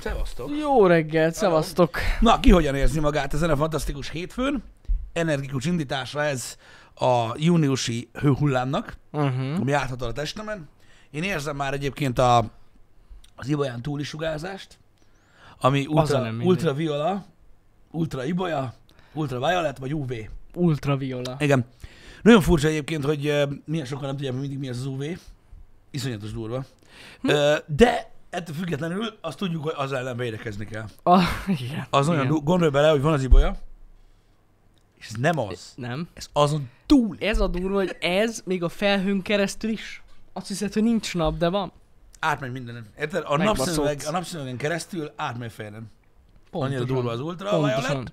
Szevasztok! Jó reggel, szevasztok! Na, ki hogyan érzi magát ezen a fantasztikus hétfőn? Energikus indításra ez a júniusi hőhullámnak, Uh-huh. ami áthatol a testemen. Én érzem már egyébként a, az ibolyán túli sugárzást, ami a ultra, nem mindegy. ultraviola, ultra ibolya, ultra violet vagy UV. Ultraviola. Igen. Nagyon furcsa egyébként, hogy ö, milyen sokan nem tudják még mindig mi az az UV. Iszonyatos durva. Hm? Ö, De ettől függetlenül azt tudjuk, hogy az ellen védekezni kell. Ah, igen. Az olyan, igen. du- gondolj bele, hogy van az ibolya, és ez nem az. Nem. Ez azon túl. Ez a durva, hogy ez még a felhőn keresztül is. Azt hiszed, hogy nincs nap, de van. Átmegy mindenen. Érted? A Megbaszott. napszemüveg, a napszemüvegen keresztül átmegy fejlen. Annyira Pontosan. durva az ultra, Pontosan. Pontosan.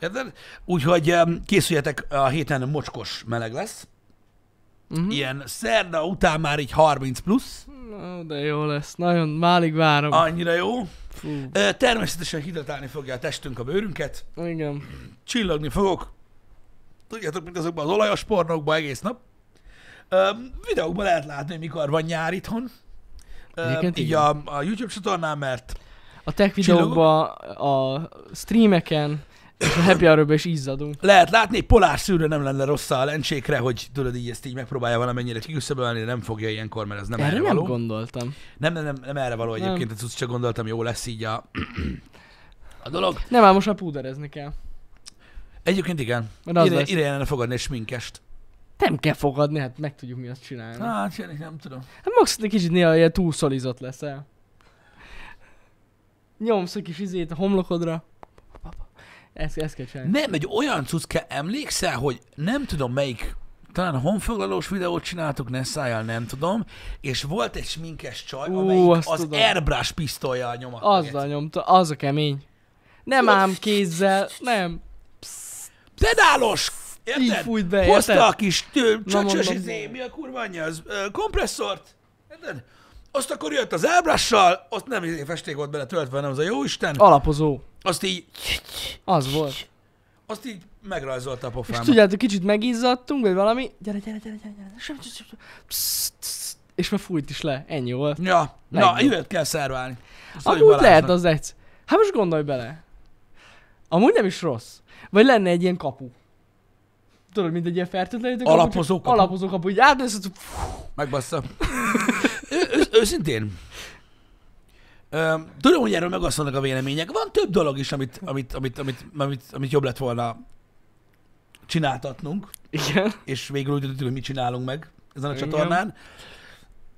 Érted? Úgyhogy em, készüljetek, a héten mocskos meleg lesz. Mhm. Ilyen szerda után már így 30 plusz. Na, de jó lesz. Nagyon málig várom. Annyira jó. Fú. Ö, Természetesen hidratálni fogja a testünk a bőrünket. Igen. csillagni fogok. Tudjátok, mint azokban az olajos pornokban egész nap. Um, videókban lehet látni, hogy mikor van nyár itthon. Um, Egyébként így igen. a, a YouTube csatornán, mert A tech videókban, a streameken, és a happy hour is izzadunk. lehet látni, egy polár szűrő nem lenne rossz a lencsékre, hogy tudod így ezt így megpróbálja valamennyire kiküszöbölni, nem fogja ilyenkor, mert ez nem erre, Erre nem való. gondoltam. nem, nem, nem, nem, erre való Nem. egyébként, nem. csak gondoltam, jó lesz így a, a dolog. Nem, már most már púderezni kell. Egyébként igen. Mert az Ide, lesz. ide lenne fogadni egy sminkest. Nem kell fogadni, hát meg tudjuk mi azt csinálni. Hát, Janik, nem tudom. Hát max egy kicsit néha ilyen túlszolizott leszel. Nyomsz egy kis izét a homlokodra. Ezt, ezt kell csinálni. Nem, egy olyan cucc kell, emlékszel, hogy nem tudom melyik, talán a honfoglalós videót csináltuk, ne szájjal, nem tudom, és volt egy sminkes csaj, Ú, amelyik azt az tudom. airbrush pisztolyjal nyomatta. Azzal nyomta, az a kemény. Nem ám kézzel, nem. Pedálos! Így Érted? fújt be, Hozta érted? a kis tő, csöcsös mondom. izé, mi a kurva anyja, az ö, kompresszort. Érted? Azt akkor jött az airbrush-sal, ott nem izé festék volt bele töltve, hanem az a jóisten. Alapozó. Azt így, Az volt. azt így megrajzolta a És pofámat. tudjátok, kicsit megizzadtunk, vagy valami. Gyere, gyere, gyere, gyere, gyere. Sem- sem- sem- sem. Pszt, pszt. És már fújt is le. Ennyi volt. Ja, na, Legjobb. jövőt kell szerválni. Szóval Amúgy lehet Balázsnak. az egy. Hát most gondolj bele. Amúgy nem is rossz. Vagy lenne egy ilyen kapu. Tudod, mint egy ilyen fertőtlenítő kapu. Alapozó csak- kapu. Alapozó kapu, így átmész, hogy fú, Megbassza. Ő- ő- Őszintén. Öm, Tudom, hogy erről megosztanak a vélemények. Van több dolog is, amit, amit, amit, amit, amit, amit jobb lett volna csináltatnunk, Igen. és végül úgy döntöttük, hogy mit csinálunk meg ezen a Igen. csatornán.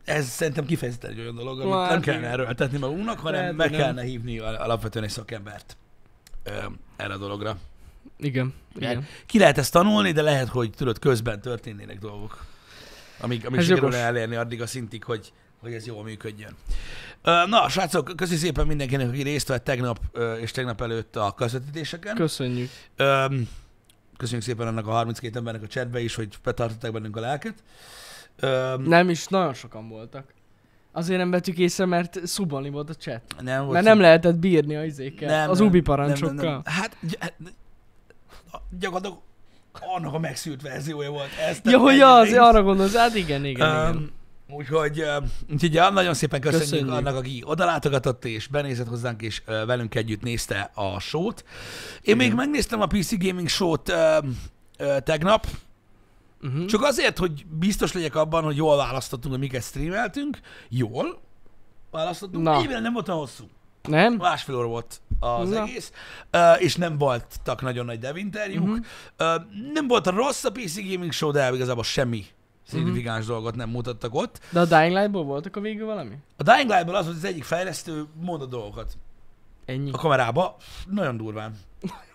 Ez szerintem kifejezetten egy olyan dolog, amit Hát nem igen. kellene erőltetni magunknak, hanem Lehet, meg hogy nem. kellene hívni al- alapvetően egy szakembert öm, erre a dologra. Igen. Igen. Ki lehet ezt tanulni, de lehet, hogy tudod, közben történnének dolgok, amik, amik Ez sikerül jogos. elérni addig a szintig, hogy, hogy ez jól működjön. Ö, Na, srácok, köszi szépen mindenkinek, aki részt vett tegnap ö, és tegnap előtt a közvetítéseken. Köszönjük. Öm, Köszönjük szépen annak a 32 embernek a chatbe is, hogy betartották bennünk a lelket. Öm, Nem is, nagyon sokan voltak. Azért nem vettük észre, mert szubani volt a chat. nem volt Mert szó- nem lehetett bírni a izékkel. nem, az nem, ubi nem, parancsokkal. nem, nem. Hát gy- hát, gyakorlatilag annak a megszűrt verziója volt. Ez Ja, hogy tette az, egyrészt. arra gondolsz, hát igen, igen, igen. Um, úgyhogy, ö, úgyhogy ja, nagyon szépen köszönjük, Köszönjük. köszönjük annak, aki oda látogatott és benézett hozzánk, és ö, velünk együtt nézte a sót. Én még megnéztem a PC Gaming sót ö, ö, tegnap, Uh-huh. csak azért, hogy biztos legyek abban, hogy jól választottunk, hogy miket streameltünk. Jól választottunk. Na. Na. Egyébként nem voltam hosszú. Nem? Másfél óra volt az Na. Na. egész, ö, és nem voltak nagyon nagy devinterjúk. Mhm. Uh-huh. Nem volt a rossz a PC Gaming Show, de igazából semmi Mhm. szignifikáns uh-huh. dolgot nem mutattak ott. De a Dying Lightból voltak a végül valami? A Dying Light-ból az, hogy az egyik fejlesztő mond a dolgokat Ennyi. a kamerába, nagyon durván.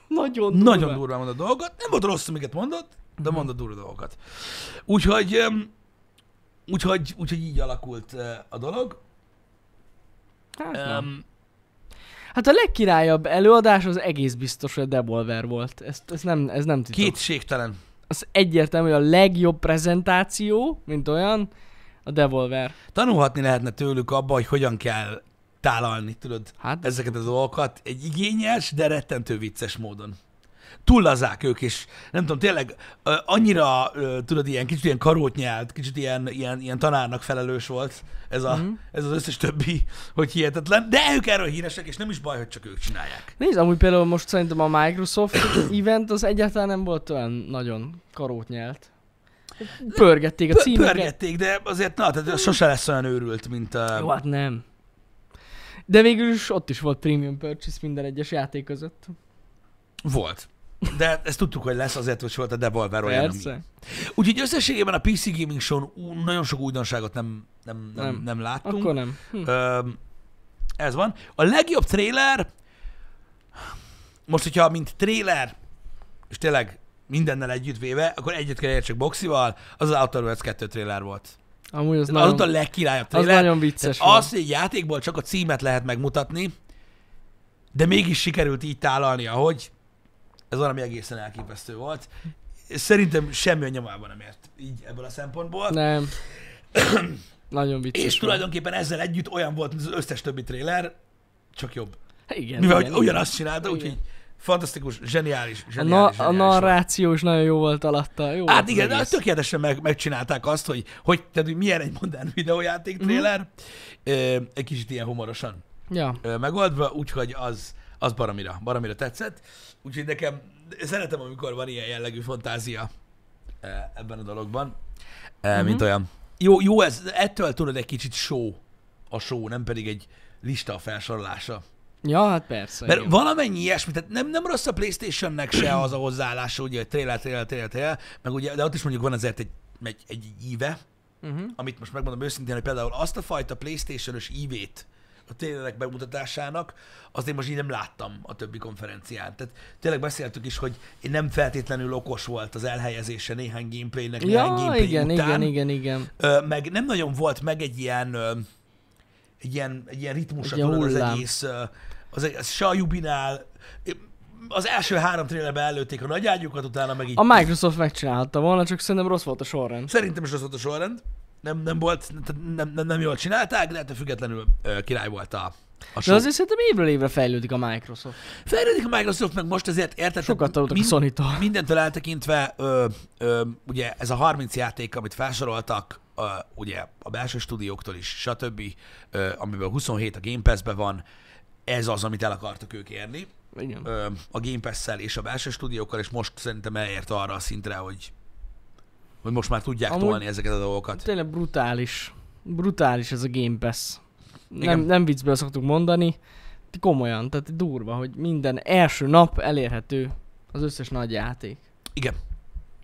Nagyon durván. durva. Nagyon durván mond a dolgokat. Nem volt rossz, amiket mondott, de mond a durva dolgokat. Úgyhogy, öm, úgyhogy, úgyhogy így alakult ö, a dolog. Hát, nem. Um, Hát a legkirályabb előadás az egész biztos, hogy a Devolver volt. Ez, ez nem, ez nem titok. Két. kétségtelen. Az egyértelmű, hogy a legjobb prezentáció, mint olyan, a Devolver. Tanulhatni lehetne tőlük abba, hogy hogyan kell tálalni, tudod, Hát, ez... ezeket a dolgokat egy igényes, de rettentő vicces módon. túl lazák ők, és nem tudom, tényleg ö, annyira, ö, tudod, ilyen kicsit ilyen karót nyelt, kicsit ilyen, ilyen, ilyen tanárnak felelős volt ez, a, Mhm. mm. ez az összes többi, hogy hihetetlen, de ők erről híresek, és nem is baj, hogy csak ők csinálják. Nézd, amúgy például most szerintem a Microsoft event az egyáltalán nem volt olyan nagyon karót nyelt. Pörgették a Pö- címeket. Pörgették, de azért, na, tehát ez sose lesz olyan őrült, mint a... Jó, hát nem. De végül is ott is volt premium purchase minden egyes játék között. Volt. De ezt tudtuk, hogy lesz azért, hogy volt a Devolver olyan, ami- Persze. Úgyhogy összességében a PC Gaming show nagyon sok újdonságot nem, nem, nem, nem. Nem. nem láttunk. Akkor nem. Hm. Öm, ez van. A legjobb trailer, most, hogyha mint trailer, és tényleg mindennel együtt véve, akkor egyet kell értsek boxival, az az Outer Worlds 2 trailer volt. Amúgy az Nagyon, az ott a nagyon, legkirályabb az trailer. nagyon vicces volt. Az, hogy egy játékból csak a címet lehet megmutatni, de mégis sikerült így tálalni, ahogy ez valami egészen elképesztő volt. Szerintem semmi a nyomában nem ért így ebből a szempontból. Nem. nagyon vicces És volt. tulajdonképpen ezzel együtt olyan volt, mint az összes többi tréler, csak jobb. Hát Igen, Mivel igen, hogy ugyanazt csinálta, Igen. úgyhogy fantasztikus, zseniális, A, na- zseniális, a zseniális volt. narráció is nagyon jó volt alatta. Jó volt Hát az igen, de egész. tökéletesen meg, megcsinálták azt, hogy, hogy, tehát, hogy milyen egy modern videójáték tréler, Mhm. mm-hmm. egy kicsit ilyen humorosan Ja. ö, megoldva, úgyhogy az, az baromira, baromira tetszett. Úgyhogy nekem szeretem, amikor van ilyen jellegű fantázia ö, ebben a dologban, mm-hmm. mint olyan. Jó, jó ez, ettől tudod egy kicsit show a show, nem pedig egy lista a felsorolása. ja, hát persze. Mert igen. valamennyi ilyesmi, tehát nem, nem rossz a Playstation-nek se az a hozzáállása, ugye, hogy trailer, trailer, trailer, trailer, meg ugye, de ott is mondjuk van azért egy, egy, egy íve, Mhm. amit most megmondom őszintén, hogy például azt a fajta Playstation-ös ívét a tényleg bemutatásának, azt én most így nem láttam a többi konferencián. Tehát tényleg beszéltük is, hogy nem feltétlenül okos volt az elhelyezése néhány gameplaynek, néhány Ja, gameplay igen, után. igen, igen, igen. Ö, meg nem nagyon volt meg egy ilyen, ö, egy ilyen, egy ilyen ritmusa Egy ilyen tudod, az hullám. egész, ö, az, egész- se a Jubinál, az első három trailerben előtték a nagy ágyukat, utána meg így. A Microsoft megcsinálhatta volna, csak szerintem rossz volt a sorrend. Szerintem is az volt a sorrend. Nem, nem volt, tehát nem, nem, nem jól csinálták, de ettől függetlenül ö, király volt a, a De show. azért szerintem évről évre fejlődik a Microsoft. Fejlődik a Microsoft, meg most ezért érted? Sokat tanultak a Hát mind- Sony-tól. Mindentől eltekintve, ö, ö, ugye ez a 30 játék, amit felsoroltak, ö, ugye a belső stúdióktól is, stb., ö, amiből 27 a Game Pass-be van, ez az, amit el akartak ők érni Igen. ö, a Game Pass-szel és a belső stúdiókkal, és most szerintem elért arra a szintre, hogy, hogy most már tudják Amúgy... Amúgy- tolni ezeket a dolgokat. Tényleg brutális. Brutális ez a Game Pass. Igen. Nem, nem viccből szoktuk mondani. Komolyan, tehát durva, hogy minden első nap elérhető az összes nagy játék. Igen.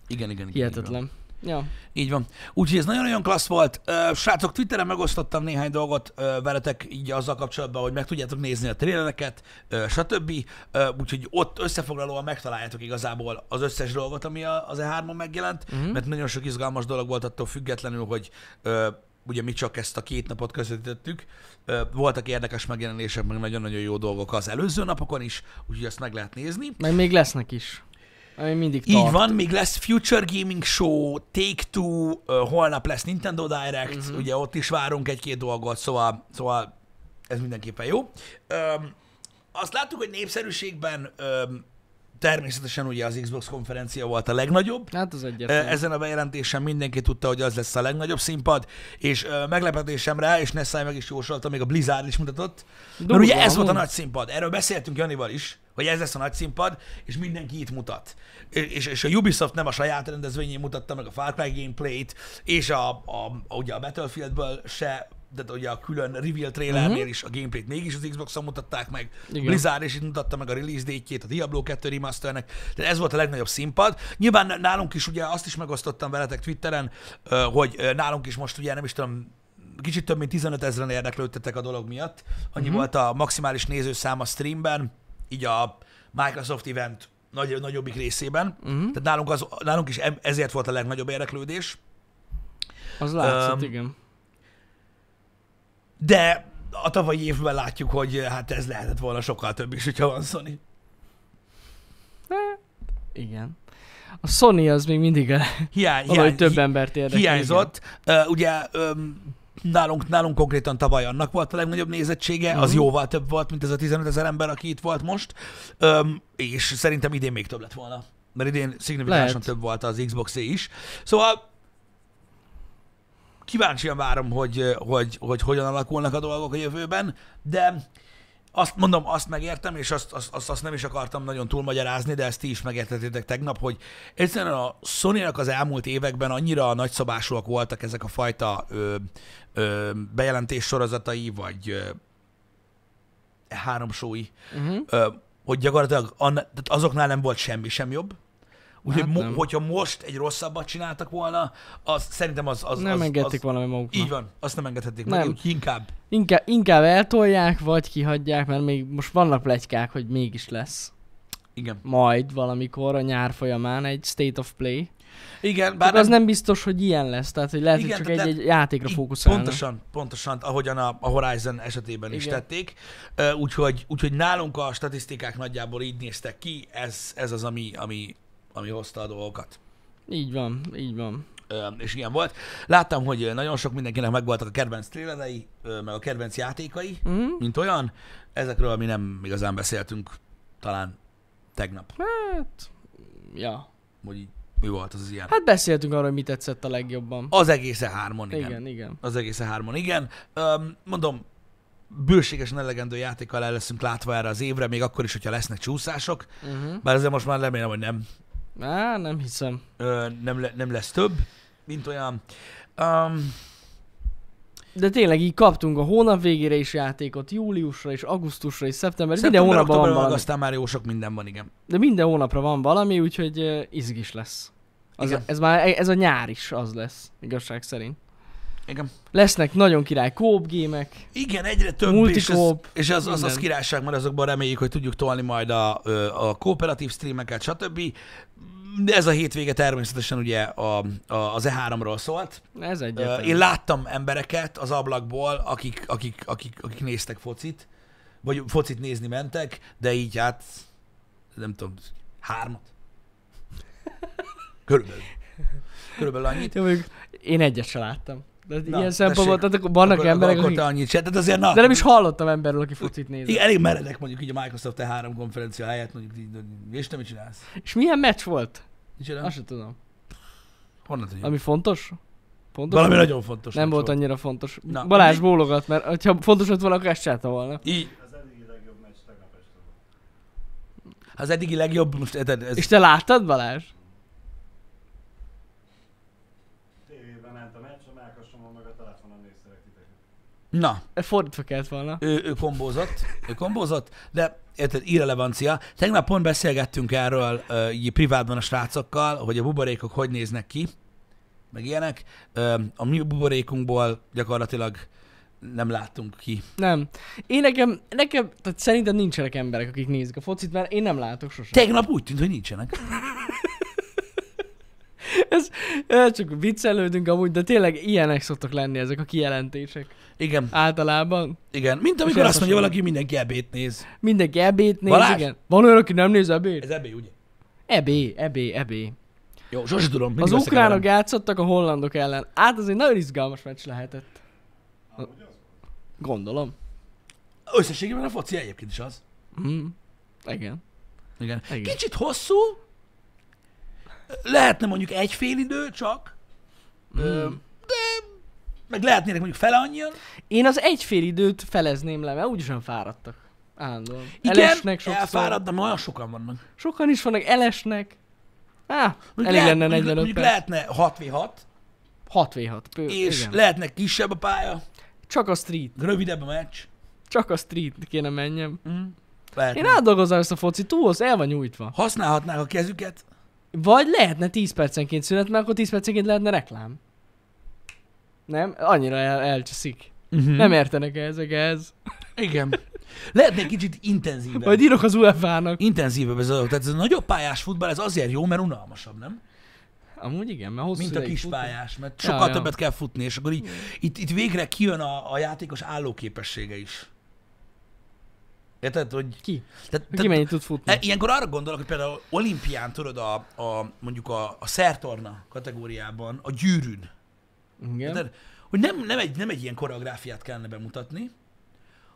Igen, igen, igen. így van. Hihetetlen. Ja. Így van. Úgyhogy ez nagyon-nagyon klassz volt. Ö, Srácok, Twitteren megosztottam néhány dolgot ö, veletek így azzal kapcsolatban, hogy meg tudjátok nézni a trélereket, ö, stb. Ö, Úgyhogy ott összefoglalóan megtaláljátok igazából az összes dolgot, ami a- az E3-on megjelent, uh-huh. mert nagyon sok izgalmas dolog volt attól függetlenül, hogy ö, ugye mi csak ezt a két napot közvetítettük. Ö, Voltak érdekes megjelenések, meg nagyon-nagyon jó dolgok az előző napokon is, úgyhogy ezt meg lehet nézni. Meg még lesznek is. Ami mindig tart. Így van, még lesz Future Gaming Show, Take-Two, ö, holnap lesz Nintendo Direct, Mhm. uh-huh. ugye ott is várunk egy-két dolgot, szóval, szóval ez mindenképpen jó. Öm, azt láttuk, hogy népszerűségben öm, természetesen ugye az Xbox konferencia volt a legnagyobb, Hát az egyetlen. Ö, Ez... Ezen a bejelentésen mindenki tudta, hogy az lesz a legnagyobb színpad, és ö, meglepetésemre, és Nessai meg is jósolta, még a Blizzard is mutatott. Mert Durva, ugye ez volt a amúgy. nagy színpad, erről beszéltünk Janival is, hogy ez lesz a nagy színpad, és mindenki itt mutat. Ö, És, és a Ubisoft nem a saját rendezvényén mutatta meg a Far Cry gameplayt, és a, a, a, ugye a Battlefieldből se, de ugye a külön reveal trailernél is a gameplayt mégis az Xboxon mutatták meg. Mhm. Igen. Blizzard Blizzard is itt mutatta meg a release date-jét a Diablo 2 remasternek, tehát ez volt a legnagyobb színpad. Nyilván nálunk is ugye azt is megosztottam veletek Twitteren, ö, hogy ö, nálunk is most ugye nem is tudom, kicsit több mint 15 ezeren érdeklődtetek a dolog miatt. Annyi volt a maximális nézőszám a streamben, így a Microsoft event nagy, nagyobbik részében. Tehát nálunk, az, nálunk is em- ezért volt a legnagyobb érdeklődés. Az látszott, Öm, igen. De a tavalyi évben látjuk, hogy ö, hát ez lehetett volna sokkal több is, hogyha van Sony. Igen. A Sony az még mindig a... Hiány, valahogy hiány, több embert érdekel. hiányzott. Uh, ugye um, Nálunk, nálunk konkrétan tavaly annak volt a legnagyobb nézettsége, az Mhm. jóval több volt, mint ez a 15 ezer ember, aki itt volt most, Öm, és szerintem idén még több lett volna, mert idén szignifikánsan Lehet. több volt az xbox is. Szóval kíváncsian várom, hogy, hogy, hogy hogyan alakulnak a dolgok a jövőben, de azt mondom, azt megértem, és azt, azt, azt, azt nem is akartam nagyon túlmagyarázni, de ezt ti is megértettétek tegnap, hogy egyszerűen a sony az elmúlt években annyira nagyszabásúak voltak ezek a fajta ö, ö, bejelentés sorozatai, vagy ö, háromsói, Uh-huh. ö, hogy gyakorlatilag anna, tehát azoknál nem volt semmi sem jobb. Úgyhogy Hát hát mo- nem. hogyha most egy rosszabbat csináltak volna, az szerintem az... az Nem az, engedték az, valami maguknak. Így van, azt nem engedhették meg, Nem. úgy inkább. Inkább, inkább eltolják, vagy kihagyják, mert még most vannak plegykák, hogy mégis lesz. Igen. Majd valamikor a nyár folyamán egy State of Play. Igen, Bár bár Csak az nem biztos, hogy ilyen lesz, tehát hogy lehet, Igen, hogy csak tehát egy-egy játékra Így fókuszálnak. Pontosan, pontosan, ahogyan a, a Horizon esetében is Igen. tették. Ö, Úgyhogy, úgyhogy nálunk a statisztikák nagyjából így néztek ki, ez, ez az, ami, ami, ami hozta a dolgokat. Így van, így van. Ö, és ilyen volt. Láttam, hogy ö, nagyon sok mindenkinek megvoltak a kedvenc trélerei, ö, meg a kedvenc játékai, Mm? mint olyan. Ezekről mi nem igazán beszéltünk talán tegnap, Hát, ja. hogy így mi volt az az ilyen. Hát beszéltünk arról, hogy mi tetszett a legjobban. Az egész E3-on, igen. Igen, igen. igen. Az egész E3-on, igen. Öm, mondom, bőségesen elegendő játékkal el leszünk látva erre az évre, még akkor is, hogyha lesznek csúszások. Uh-huh. Bár ezzel most már remélem, hogy nem, Á, nem hiszem. ö, nem, le, nem lesz több, mint olyan. Öm, De tényleg így kaptunk a hónap végére is játékot, júliusra és augusztusra és szeptemberre. szeptember, Minden hónapban van októberben meg valami. aztán már jó sok minden van, igen. De minden hónapra van valami, úgyhogy eh, izgis lesz. Az, Igen. ez már ez a nyár is az lesz, igazság szerint. Igen. Lesznek nagyon király kóp gémek. Igen, egyre több, és az, Multikóp, és az, az, az minden. királyság, mert azokban reméljük, hogy tudjuk tolni majd a, ö, a kooperatív streameket, stb. De ez a hétvége természetesen ugye a, a, az E3-ról szólt. Ez Ö, egyetlen. Én láttam embereket az ablakból, akik, akik, akik, akik néztek focit, vagy focit nézni mentek, de így hát, nem tudom, hármat. Körülbelül. Körülbelül annyit. Jó, mondjuk én egyet se láttam. De Na, ilyen szempontból, tessék. tehát akkor vannak Akkor- emberek, akkor akik... te annyit se, tehát azért na. De nem is hallottam emberről, aki focit néz. Igen, elég meredek mondjuk így a Microsoft E3 konferencia helyett, mondjuk így, hogy- és te mit csinálsz? És milyen meccs volt? Nincs olyan? Azt sem tudom. Honnan tudjuk? Ami fontos? Fontos? Valami nagyon fontos. szóval. Nem meccs volt annyira fontos. Na, Na, Balázs mi? bólogat, mert ha fontos lett volna, akkor ezt csinálta volna. Így, Az eddigi legjobb meccs tegnap este volt. az eddigi legjobb, most ez, ez És te láttad, Balázs? Tévében ment a meccs, a melkasomon meg a telefonon néztelek titeket. Na, E, Fordítva kellett volna. ő, ő kombózott, ő kombózott, de érted, irrelevancia. Tegnap pont beszélgettünk erről ö, így privátban a srácokkal, hogy a buborékok hogy néznek ki, meg ilyenek. Ö, a mi buborékunkból gyakorlatilag nem láttunk ki. Nem. Én nekem, nekem, tehát szerintem nincsenek emberek, akik nézik a focit, mert én nem látok sosem. Tegnap úgy tűnt, hogy nincsenek. Ez, ez csak viccelődünk amúgy, de tényleg ilyenek szoktak lenni ezek a kijelentések. Igen, általában. Általában igen. Mint amikor És azt mondja elfasult. valaki, mindenki ebét néz. mindenki ebét néz, Balázs? igen. Van olyan, aki nem néz ebét? Ez ebé, ugye? Ebé, ebé, ebé. Jó, sose tudom. mindig Az összekeverem. ukránok játszottak a hollandok ellen. Hát az egy nagyon izgalmas meccs lehetett. Amúgy az volt. Gondolom. Összességében a foci egyébként is az. Mm. Igen. Igen. Igen. Kicsit hosszú, lehetne mondjuk egy fél idő csak, mm. Hmm. de meg lehetnének mondjuk fele annyian. Én az egyfél időt felezném le, mert úgyis olyan fáradtak. Állandóan. Igen, elesnek sokszor. elfáradnak, mert olyan sokan vannak. Sokan is vannak, elesnek. Á, Mondjuk elég lenne mondjuk, 45 mondjuk perc. lehetne 6v6, 6v6. Pő, és igen. lehetne kisebb a pálya, Csak a street. rövidebb a meccs. Csak a street kéne menjem. Mm. Lehetne. Én átdolgoznám ezt a foci, túlhoz el van nyújtva. Használhatnák a kezüket. Vagy lehetne 10 percenként szünet, mert akkor 10 percenként lehetne reklám. Nem? Annyira el, elcseszik. Uh-huh. Nem értenek ezek ez. Igen. Lehetne egy kicsit intenzívebb. Majd írok az UEFA-nak. Intenzívebb ez a dolog. Tehát ez a nagyobb pályás futball, ez azért jó, mert unalmasabb, nem? Amúgy igen, mert hosszú Mint a ideig kis fut. pályás, mert Ja, sokkal ja. többet kell futni, és akkor így, itt, itt végre kijön a, a játékos állóképessége is. Érted, hogy... Ki? Tehát, Ki mennyit tud futni? e, ilyenkor arra gondolok, hogy például olimpián, tudod, a, a mondjuk a, a szertorna kategóriában, a gyűrűn, igen. érted? hogy nem, nem, egy, nem egy ilyen koreográfiát kellene bemutatni,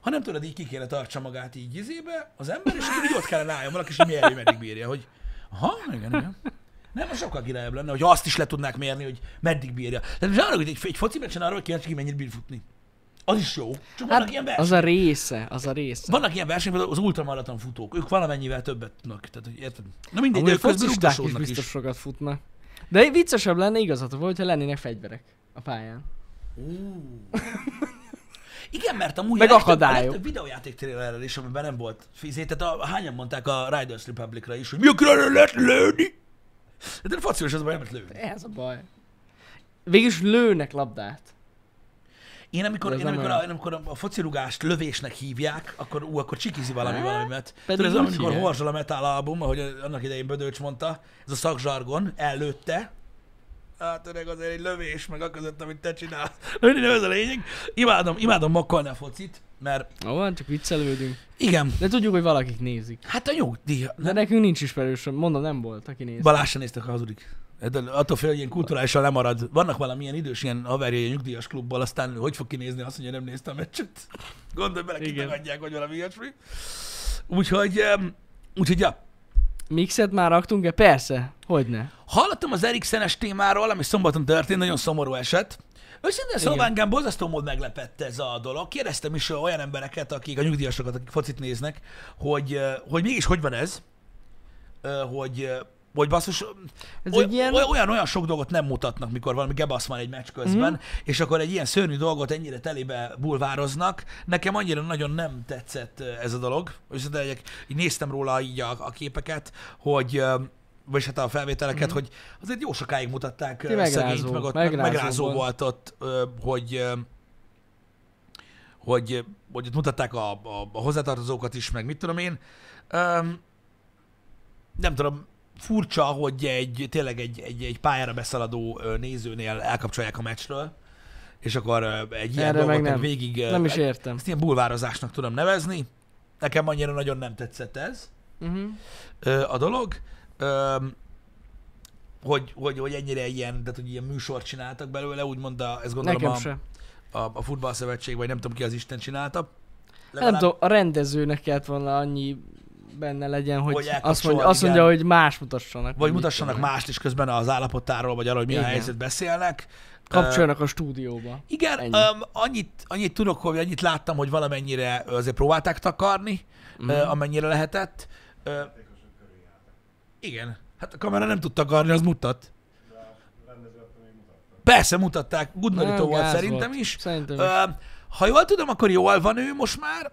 hanem tudod, így ki kéne tartsa magát így izébe az ember, és akkor így ott kellene álljon valaki, és így mérje, meddig bírja, hogy aha, igen, igen. Nem, az sokkal királyabb lenne, hogy azt is le tudnák mérni, hogy meddig bírja. Tehát most arra, hogy egy, egy foci meccsen arról kíváncsi, ki mennyit bír futni. Az is jó. Csak vannak Hát, ilyen az versenyek. a része, az a része. Vannak ilyen versenyek, például az ultramaraton futók, ők valamennyivel többet tudnak. Tehát, hogy érted? Na mindegy, de Amúgy a ők közben focisták is rúgdosódnak is. biztos sokat futnak. De viccesebb lenne igazatok volt, ha lennének fegyverek a pályán. Igen, mert amúgy Meg a legtöbb- akadályok. A legtöbb videójáték trailerrel is, amiben nem volt fizé, tehát a, hányan mondták a Riders Republicra is, hogy mi a külön lehet lőni? De a fociós azban nem lehet lőni. E, Ez a baj. Végülis lőnek labdát. Én amikor, Ez én nem amikor, olyan. a, én amikor a- a focirugást lövésnek hívják, akkor ú, akkor csikizi valami Hát, valamimet. pedig Tudod, ez olyan, úgy amikor hívják. horzsol a metal album, ahogy annak idején Bödölcs mondta, ez a szakzsargon, ellőtte. Hát öreg azért egy lövés, meg a között, amit te csinálsz. Na, mindegy, nem ez a lényeg. Imádom, imádom makkolni a focit, mert Ó, van, csak viccelődünk. igen, De tudjuk, hogy valakik nézik. hát a nyugdíj, De nekünk nincs ismerősöm, mondom, nem volt, aki néz. Balázs sem néztek a hazudik. Hát, De attól fél, hogy ilyen kulturálisan lemarad. Vannak valamilyen idős ilyen haverjai a nyugdíjas klubból, aztán hogy fog kinézni azt, hogy nem néztem a meccset. Gondolj bele, Igen. kitagadják, vagy valami ilyesmi. Úgyhogy, em, úgyhogy ja. Mixet már raktunk-e? Persze, hogyne. Hallottam az Eriksenes témáról, ami szombaton történt, nagyon szomorú eset. Őszintén szóval Igen. engem borzasztó mód meglepett ez a dolog. Kérdeztem is olyan embereket, akik a nyugdíjasokat, akik focit néznek, hogy, eh, hogy mégis hogy van ez, Ö, hogy, eh, hogy basszus, Ez oly- egy ilyen- oly- olyan, olyan sok dolgot nem mutatnak, mikor valami gebasz van egy meccs közben, Mhm. és akkor egy ilyen szörnyű dolgot ennyire telébe bulvároznak. Nekem annyira nagyon nem tetszett eh, ez a dolog. Viszont legyek, így néztem róla így a, a képeket, hogy eh, vagyis hát a felvételeket, hogy azért jó sokáig mutatták eh, Mhm. Megrázó, szegényt, meg ott megrázó megrázó, megrázó volt. volt ott, eh, hogy eh, hogy, hogy ott mutatták a, a, a hozzátartozókat is, meg mit tudom én. Um, nem tudom, furcsa, hogy egy, tényleg egy, egy, egy pályára beszaladó ö, nézőnél elkapcsolják a meccsről, és akkor ö, egy ilyen Erre dolgot meg meg nem. végig... ö, Nem is hát értem. Ezt ilyen bulvározásnak tudom nevezni. Nekem annyira nagyon nem tetszett ez Uh-huh. ö, a dolog. Öm, hogy, hogy, hogy ennyire ilyen, tehát hogy ilyen műsort csináltak belőle, úgymond a, ezt gondolom Nekem a, se. Hát a, a futballszövetség, vagy nem tudom ki az Isten csinálta. Nem tudom, a rendezőnek kellett volna annyi benne legyen, hogy, Hogy azt, elkapcsol, mondja, azt igen. mondja, hogy más mutassanak. Vagy mit mutassanak tudom én. mást is közben az állapotáról, vagy arról, hogy mi a Igen. helyzet beszélnek. Ö, Kapcsoljanak a stúdióba. igen, Ennyi. öm, annyit, annyit tudok, hogy annyit láttam, hogy valamennyire ö, azért próbálták takarni, mm. Mhm. amennyire lehetett. Ö, játékosok körül jártak. igen, hát a kamera nem tud takarni, az mutat. De a rendező attól még mutatta. Persze mutatták, Nem, gundorító volt gáz szerintem volt. is. Szerintem is. Ö, ha jól tudom, akkor jól van ő most már,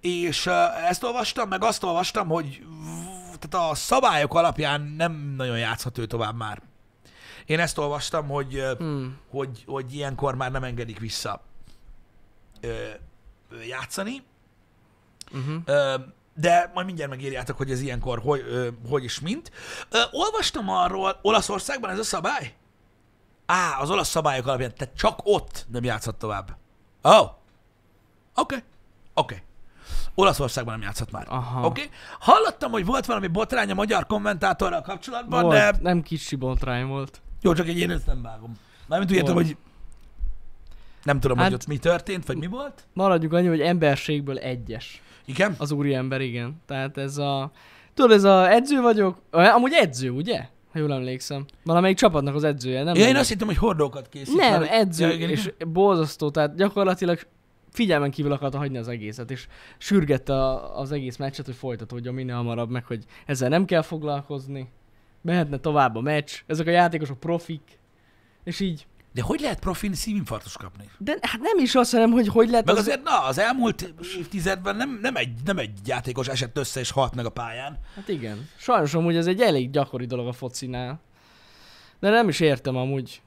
és ö, ezt olvastam, meg azt olvastam, hogy v- tehát a szabályok alapján nem nagyon játszhat ő tovább már. Én ezt olvastam, hogy, ö, Hmm. hogy, hogy ilyenkor már nem engedik vissza ö, ö, játszani, Uh-huh. Ö, de majd mindjárt megírjátok, hogy ez ilyenkor hogy, ö, hogy is mint. Ö, olvastam arról, Olaszországban ez a szabály? Á, az olasz szabályok alapján, te csak ott nem játszhat tovább. Ó, oh. oké, okay. oké. Okay. Olaszországban nem játszhat már. Aha. Oké? Okay? Hallottam, hogy volt valami botrány a magyar kommentátorral kapcsolatban, Volt, de nem kicsi botrány volt. jó, csak egy én ezt nem vágom. Mármint úgy értem, Volt. hogy nem tudom, Hát- hogy ott mi történt, vagy mi volt. Maradjuk annyi, hogy emberségből egyes. Igen? Az úriember, igen. Tehát ez a... Tudod, ez a edző vagyok. Ö, Amúgy edző, ugye? Ha jól emlékszem. Valamelyik csapatnak az edzője, nem? Ja, én azt hittem, hogy hordókat készít. Nem, mert- edző, Ja, igen, igen. és borzasztó, tehát gyakorlatilag figyelmen kívül akarta hagyni az egészet, és sürgette a, az egész meccset, hogy folytatódjon minél hamarabb, meg hogy ezzel nem kell foglalkozni, mehetne tovább a meccs, ezek a játékosok profik, és így, De hogy lehet profin szívinfarktus kapni? de hát nem is azt hanem, hogy hogy lehet Meg az... azért, na, az elmúlt évtizedben nem, nem, egy, nem egy játékos esett össze és halt meg a pályán. Hát igen, sajnos amúgy ez egy elég gyakori dolog a focinál, de nem is értem amúgy,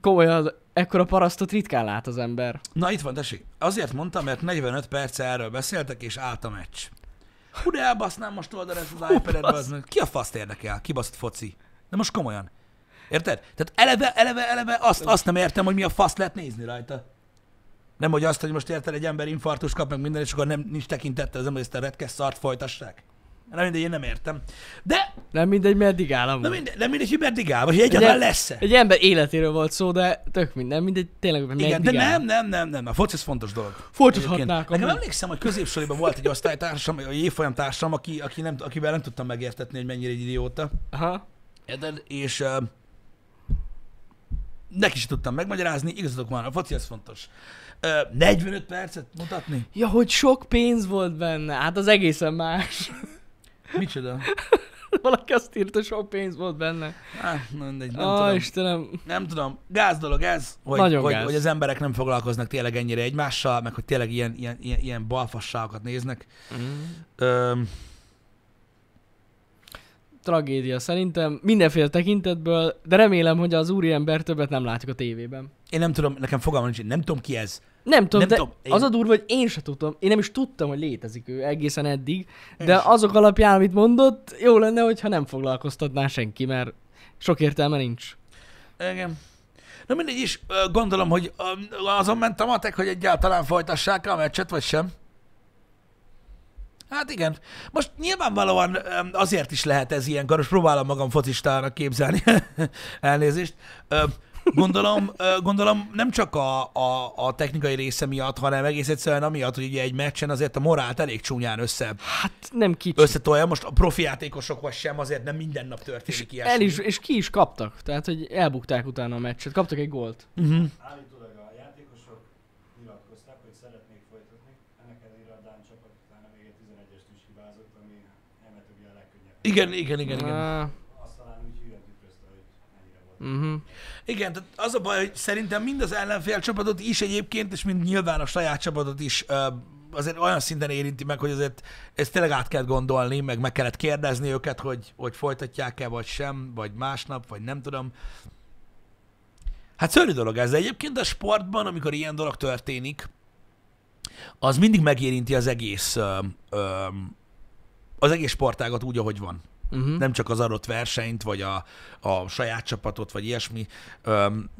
komolyan ekkora parasztot ritkán lát az ember. Na itt van, tessék. Azért mondtam, mert 45 perc erről beszéltek, és állt a meccs. Hú, de elbasznám most oldalra ezt az iPad-et, basz. bazd meg. Ki a faszt érdekel? Kibaszott foci. De most komolyan. Érted? Tehát eleve, eleve, eleve azt, azt nem értem, hogy mi a fasz lehet nézni rajta. Nem, hogy azt, hogy most érted, egy ember infarktus kap meg minden, és akkor nem, nincs tekintette az ember, ezt a retkes szart folytassák. Na mindegy, én nem értem. De, Nem mindegy, mert eddig állam na volt. mindegy, de mindegy, hogy meddig áll, vagy hogy egyáltalán Ugye- lesz e. Egy ember életéről volt szó, de tök minden, mindegy, tényleg, mert Igen, de meddig áll. nem, nem, nem, nem, a foci ez fontos dolog. Egyébként. Folytathatnák Nekem amúgy. emlékszem, hogy középsoriban volt egy osztálytársam, egy évfolyam társam, aki, aki nem, akivel nem tudtam megértetni, hogy mennyire egy idióta. Aha. Érted? És uh, neki is tudtam megmagyarázni, igazatok van, a foci ez fontos. Uh, 45 percet mutatni? Ja, hogy sok pénz volt benne, hát az egészen más. Micsoda? Valaki azt írta, sok pénz volt benne. Hát, na mindegy, nem Á, tudom. Istenem. Nem tudom, gáz dolog ez, hogy, Nagyon hogy, gáz. hogy az emberek nem foglalkoznak tényleg ennyire egymással, meg hogy tényleg ilyen, ilyen, ilyen, ilyen balfasságokat néznek. Öm, Tragédia szerintem, mindenféle tekintetből, de remélem, hogy az úriember többet nem látjuk a tévében. én nem tudom, nekem fogalmam nincs, én nem tudom ki ez. Nem tudom, Nem de tudom, én- az a durva, hogy én se tudtam, én nem is tudtam, hogy létezik ő egészen eddig, Én de se. azok alapján, amit mondott, jó lenne, hogyha nem foglalkoztatná senki, mert sok értelme nincs. Igen. Na mindegy is, ö, gondolom, hogy ö, azon ment a matek, hogy egyáltalán folytassák a meccset, vagy sem. Hát igen. Most nyilvánvalóan öm, azért is lehet ez ilyen garos, próbálom magam focistának képzelni. Elnézést. Ö, Gondolom, ö, gondolom nem csak a, a, a technikai része miatt, hanem egész egyszerűen amiatt, hogy ugye egy meccsen azért a morált elég csúnyán össze, Hát nem kicsi. összetolja. Most a profi játékosok vagy sem, azért nem minden nap történik ilyesmi. El is, és ki is kaptak, tehát hogy elbukták utána a meccset, kaptak egy gólt. Uh-huh. Állítólag a játékosok nyilatkozták, hogy szeretnék folytatni. Ennek ellenére a Dán csapat utána még egy 11-est is hibázott, ami elméletileg ugye a legkönnyebb. Igen, igen, igen, igen. Ah, Azt talán úgy hűen tükrözte, hogy mennyire volt. uh-huh. Igen, tehát az a baj, hogy szerintem mind az ellenfél csapatot is egyébként, és mind nyilván a saját csapatot is ö, azért olyan szinten érinti meg, hogy azért ezt tényleg át kellett gondolni, meg meg kellett kérdezni őket, hogy, hogy folytatják-e, vagy sem, vagy másnap, vagy nem tudom. Hát szörnyű dolog ez, de egyébként a sportban, amikor ilyen dolog történik, az mindig megérinti az egész, ö, ö, az egész sportágat úgy, ahogy van Uh-huh. nem csak az adott versenyt, vagy a, a saját csapatot, vagy ilyesmi. Öm,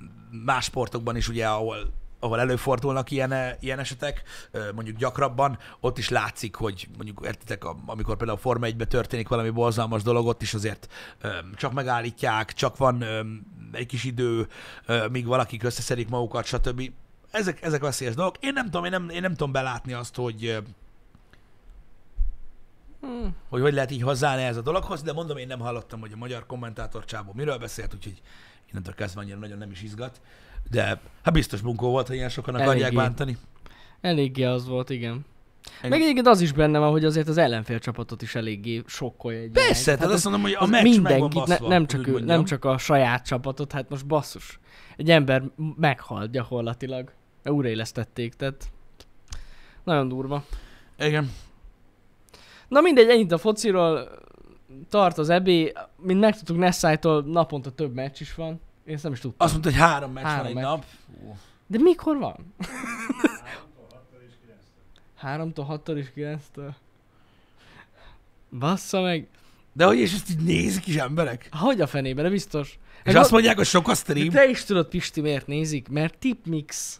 Más sportokban is ugye, ahol, ahol előfordulnak ilyen, ilyen esetek, ö, mondjuk gyakrabban, ott is látszik, hogy mondjuk értitek, a- amikor például a Forma 1 történik valami borzalmas dolog, ott is azért öm, csak megállítják, csak van öm, egy kis idő, ö, míg valakik összeszedik magukat, stb. Ezek, ezek veszélyes dolgok. Én nem tudom, én nem, én nem tudom belátni azt, hogy ö, hogy hogy lehet így hozzáállni ez a dologhoz, de mondom, én nem hallottam, hogy a magyar kommentátor Csábó miről beszélt, úgyhogy innentől kezdve annyira nagyon nem is izgat. De hát biztos bunkó volt, hogy ilyen sokan akarják Eléggé. bántani. Eléggé az volt, igen. Igen. Meg egyébként az is benne van, hogy azért az ellenfél csapatot is eléggé sokkolja egy Persze, irány. tehát azt mondom, hogy a Hát az meccs meg van mindenkit, ne, baszva, nem, csak úgy ő, mondjam. nem csak a saját csapatot, hát most basszus. Egy ember meghalt gyakorlatilag. Mert Újraélesztették, tehát nagyon durva. Igen. Na mindegy, ennyit a fociról tart az ebé. Mint megtudtuk Nessájtól naponta több meccs is van. Én ezt nem is tudtam. Azt mondta, hogy három meccs Három van egy meccs. nap. De mikor van? 3-tól 6-tól és 9-től. 3-tól 6-tól és 9-től. Bassza meg. De hogy és ezt így nézik is emberek? Hogy a fenébe, de És biztos. Hát azt gond- mondják, hogy sok a stream. de te is tudod, Pisti, miért nézik? Mert tipmix.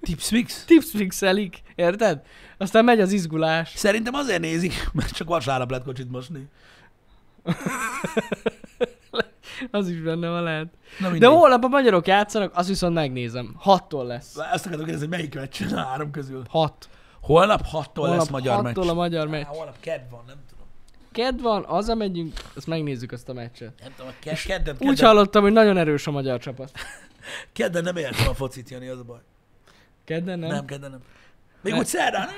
Tips mix? Tipsmixelik, érted? Aztán megy az izgulás. Szerintem azért nézik, mert csak vasárnap lehet kocsit mosni. Az is benne van lehet. Na De mindegy. holnap a magyarok játszanak, azt viszont megnézem. Hattól lesz. Azt akarok kérdezni, hogy melyik meccs a három közül. Hat. Holnap 6-tól Holnap lesz magyar meccs. hattól a magyar meccs. Á, holnap kedv van, nem tudom. Kedd van, haza megyünk, azt megnézzük azt a meccset. Nem tudom, a ke- kedden, Úgy kedden, hallottam, hogy nagyon erős a magyar csapat. kedden nem értem a focit, Jani, az a baj. Kedden nem? Nem, nem kedden nem. Még Nem. úgy szerdán.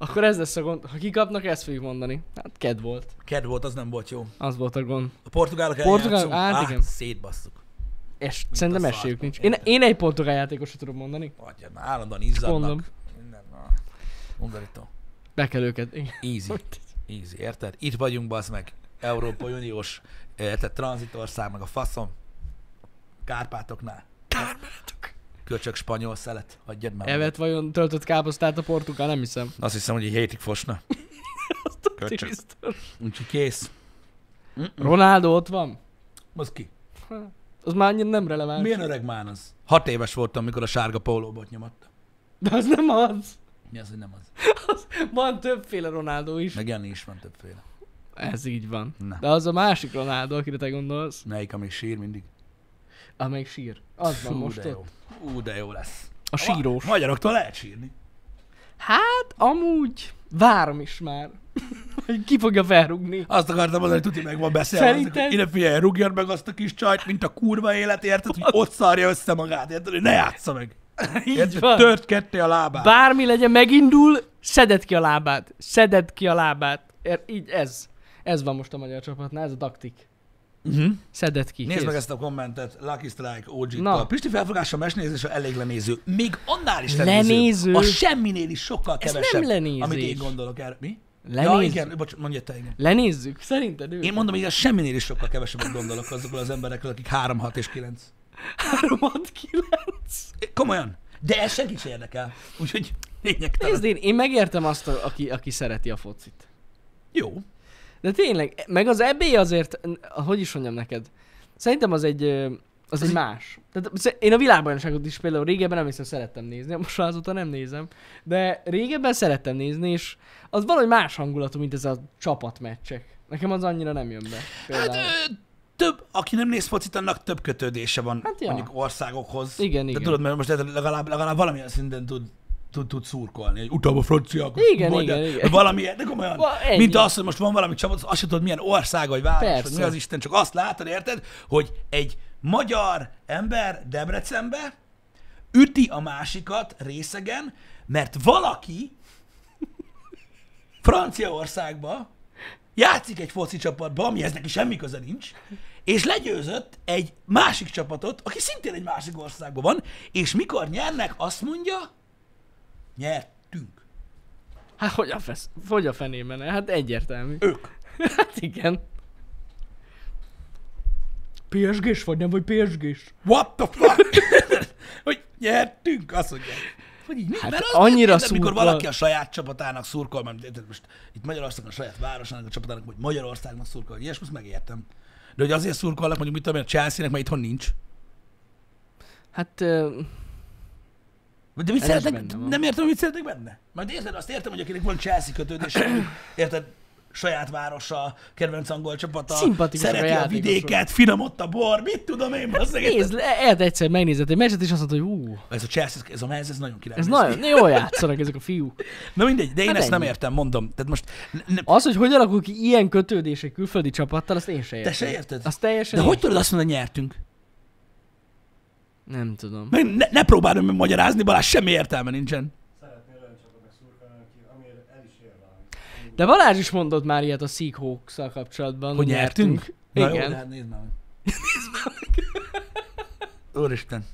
Akkor ez lesz a gond. Ha kikapnak, ezt fogjuk mondani. Hát kedd volt. Kedd volt, az nem volt jó. Az volt a gond. A portugálok Portugál- eljátszunk, hát hát igen. szétbasszuk. És a szerintem szart, esélyük nincs. Én, érted? én egy portugál játékosra tudom mondani. Adja, már állandóan izzadnak. Mondom. Minden, na. Undorító. Be kell őket. Igen. Easy, easy, érted? Itt vagyunk, bazd meg. Európai Uniós, érted? Tranzitország, meg a faszom. Kárpátoknál. Kármátok. Köcsök spanyol szelet, hagyjad már. Evet vajon töltött káposztát a portugál? Nem hiszem. Azt hiszem, hogy egy hétig fosna. Azt tudni Köcsög. biztos. Úgyhogy kész. Ronaldo ott van? Az ki. Az már annyira nem releváns. Milyen öreg már az? Hat éves voltam, mikor a sárga pólóbot nyomatta. De az nem az. Mi az, hogy nem az? Van többféle Ronaldo is. Meg Jani is van többféle. Ez így van. Na. De az a másik Ronaldo, akire te gondolsz, Melyik, ami sír mindig? amelyik sír. Az van Fú, most de ott. jó. Ú, de jó lesz. A sírós. Ma- magyaroktól lehet sírni. Hát, amúgy várom is már, hogy ki fogja felrugni. Azt akartam mondani, hogy tuti meg van beszélve. Szerinted? Ide figyelj, rúgjon meg azt a kis csajt, mint a kurva élet, érted? Hogy ott szarja össze magát, érted? Hogy ne játsza meg. Így Érted? van. Tört ketté a lábát. Bármi legyen, megindul, szeded ki a lábát. Szeded ki a lábát. Er, így ez. Ez van most a magyar csapatnál, ez a taktik. uh-huh. Szeded ki. Nézd Mhm. kész. meg ezt a kommentet, Lucky Strike og Na. -tal. Pisti felfogása mesnézése elég lenéző. Még annál is lenéző. Lenéző. A semminél is sokkal Ez nem kevesebb. lenézés. Amit én gondolok erre. Mi? Lenéző. Ja, igen, bocs, mondja te, igen. Lenézzük, szerinted ő? Én mondom, hogy a semminél is sokkal kevesebbet gondolok azokról az emberekről, akik 3, 6 és 9. 369. Komolyan. De ez senki sem érdekel. Úgyhogy lényegtelen. Nézd, én, én megértem azt, a, aki, aki szereti a focit. Jó. De tényleg, meg az EB azért, n- hogy is mondjam neked, szerintem az egy, ö, az egy más. Tehát sze- én a világbajnokságot is például régebben nem hiszem szerettem nézni, most már azóta nem nézem, de régebben szerettem nézni, és az valahogy más hangulatú, mint ez a csapatmeccsek. Nekem az annyira nem jön be. Hát Például. ö, több, aki nem néz focit, annak több kötődése van Hát hát ja. mondjuk országokhoz. Igen, De igen. tudod, mert most legalább, legalább valamilyen szinten tud, tud, tud szurkolni, hogy utána a franciák. Igen, vagy, igen, de- igen. Valami, de komolyan. Va- ennyi. mint az, hogy most van valami csapat, azt sem tudod, milyen ország, vagy város, Persze. vagy mi az Isten, csak azt látod, érted, hogy egy magyar ember Debrecenbe üti a másikat részegen, mert valaki Franciaországba játszik egy foci csapatba, amihez neki semmi köze nincs, és legyőzött egy másik csapatot, aki szintén egy másik országban van, és mikor nyernek, azt mondja, nyertünk. Hát hogy a, fesz, hogy a fenében? Hát egyértelmű. Ők. Hát igen. PSG-s vagy, nem vagy PSG-s? What the fuck? hogy nyertünk, azt mondják. Hogy így, mi? Hát Mert az annyira annyira érted, mikor szurkol. valaki a saját csapatának szurkol, mert érted, most itt Magyarországon a saját városának, a csapatának, vagy Magyarországnak szurkol, vagy ilyesmi, azt megértem. De hogy azért szurkolnak, mondjuk, mit tudom én, a Chelsea-nek, mert itthon nincs. Hát ö, De mit Ez szeretnek, benne van. nem értem, hogy mit szeretnek benne. Majd érted, azt értem, hogy akinek van Chelsea kötődése, mondjuk, érted, saját városa, kedvenc angol csapata, Szimpatikusak a szereti a, játékosok. Hát vidéket, finomott a bor, mit tudom én, bazzeg. nézd, érted? lehet egyszer megnézed egy meccset, és azt mondod, hogy ú, Ez a Chelsea, ez a Mez, ez nagyon király. ez néz ki. nagyon jól játszanak ezek a fiúk. Na mindegy, de én Hát ezt nem ennyi. értem, mondom. Tehát most ne, Az, hogy hogy alakul ki ilyen kötődés egy külföldi csapattal, azt én sem te értem. se érted? Azt teljesen De hogy én- tudod azt mondani, hogy nyertünk? Nem tudom. Meg Ne, ne próbálom magyarázni, Balázs, semmi értelme nincsen. Szeretnél olyan csapatnak szurkolni, aki, amiért el is ér valamit. De Balázs is mondott már ilyet a seahawks kapcsolatban. Hogy nyertünk? Na Igen. Jó, de hát nézd már meg. Úristen.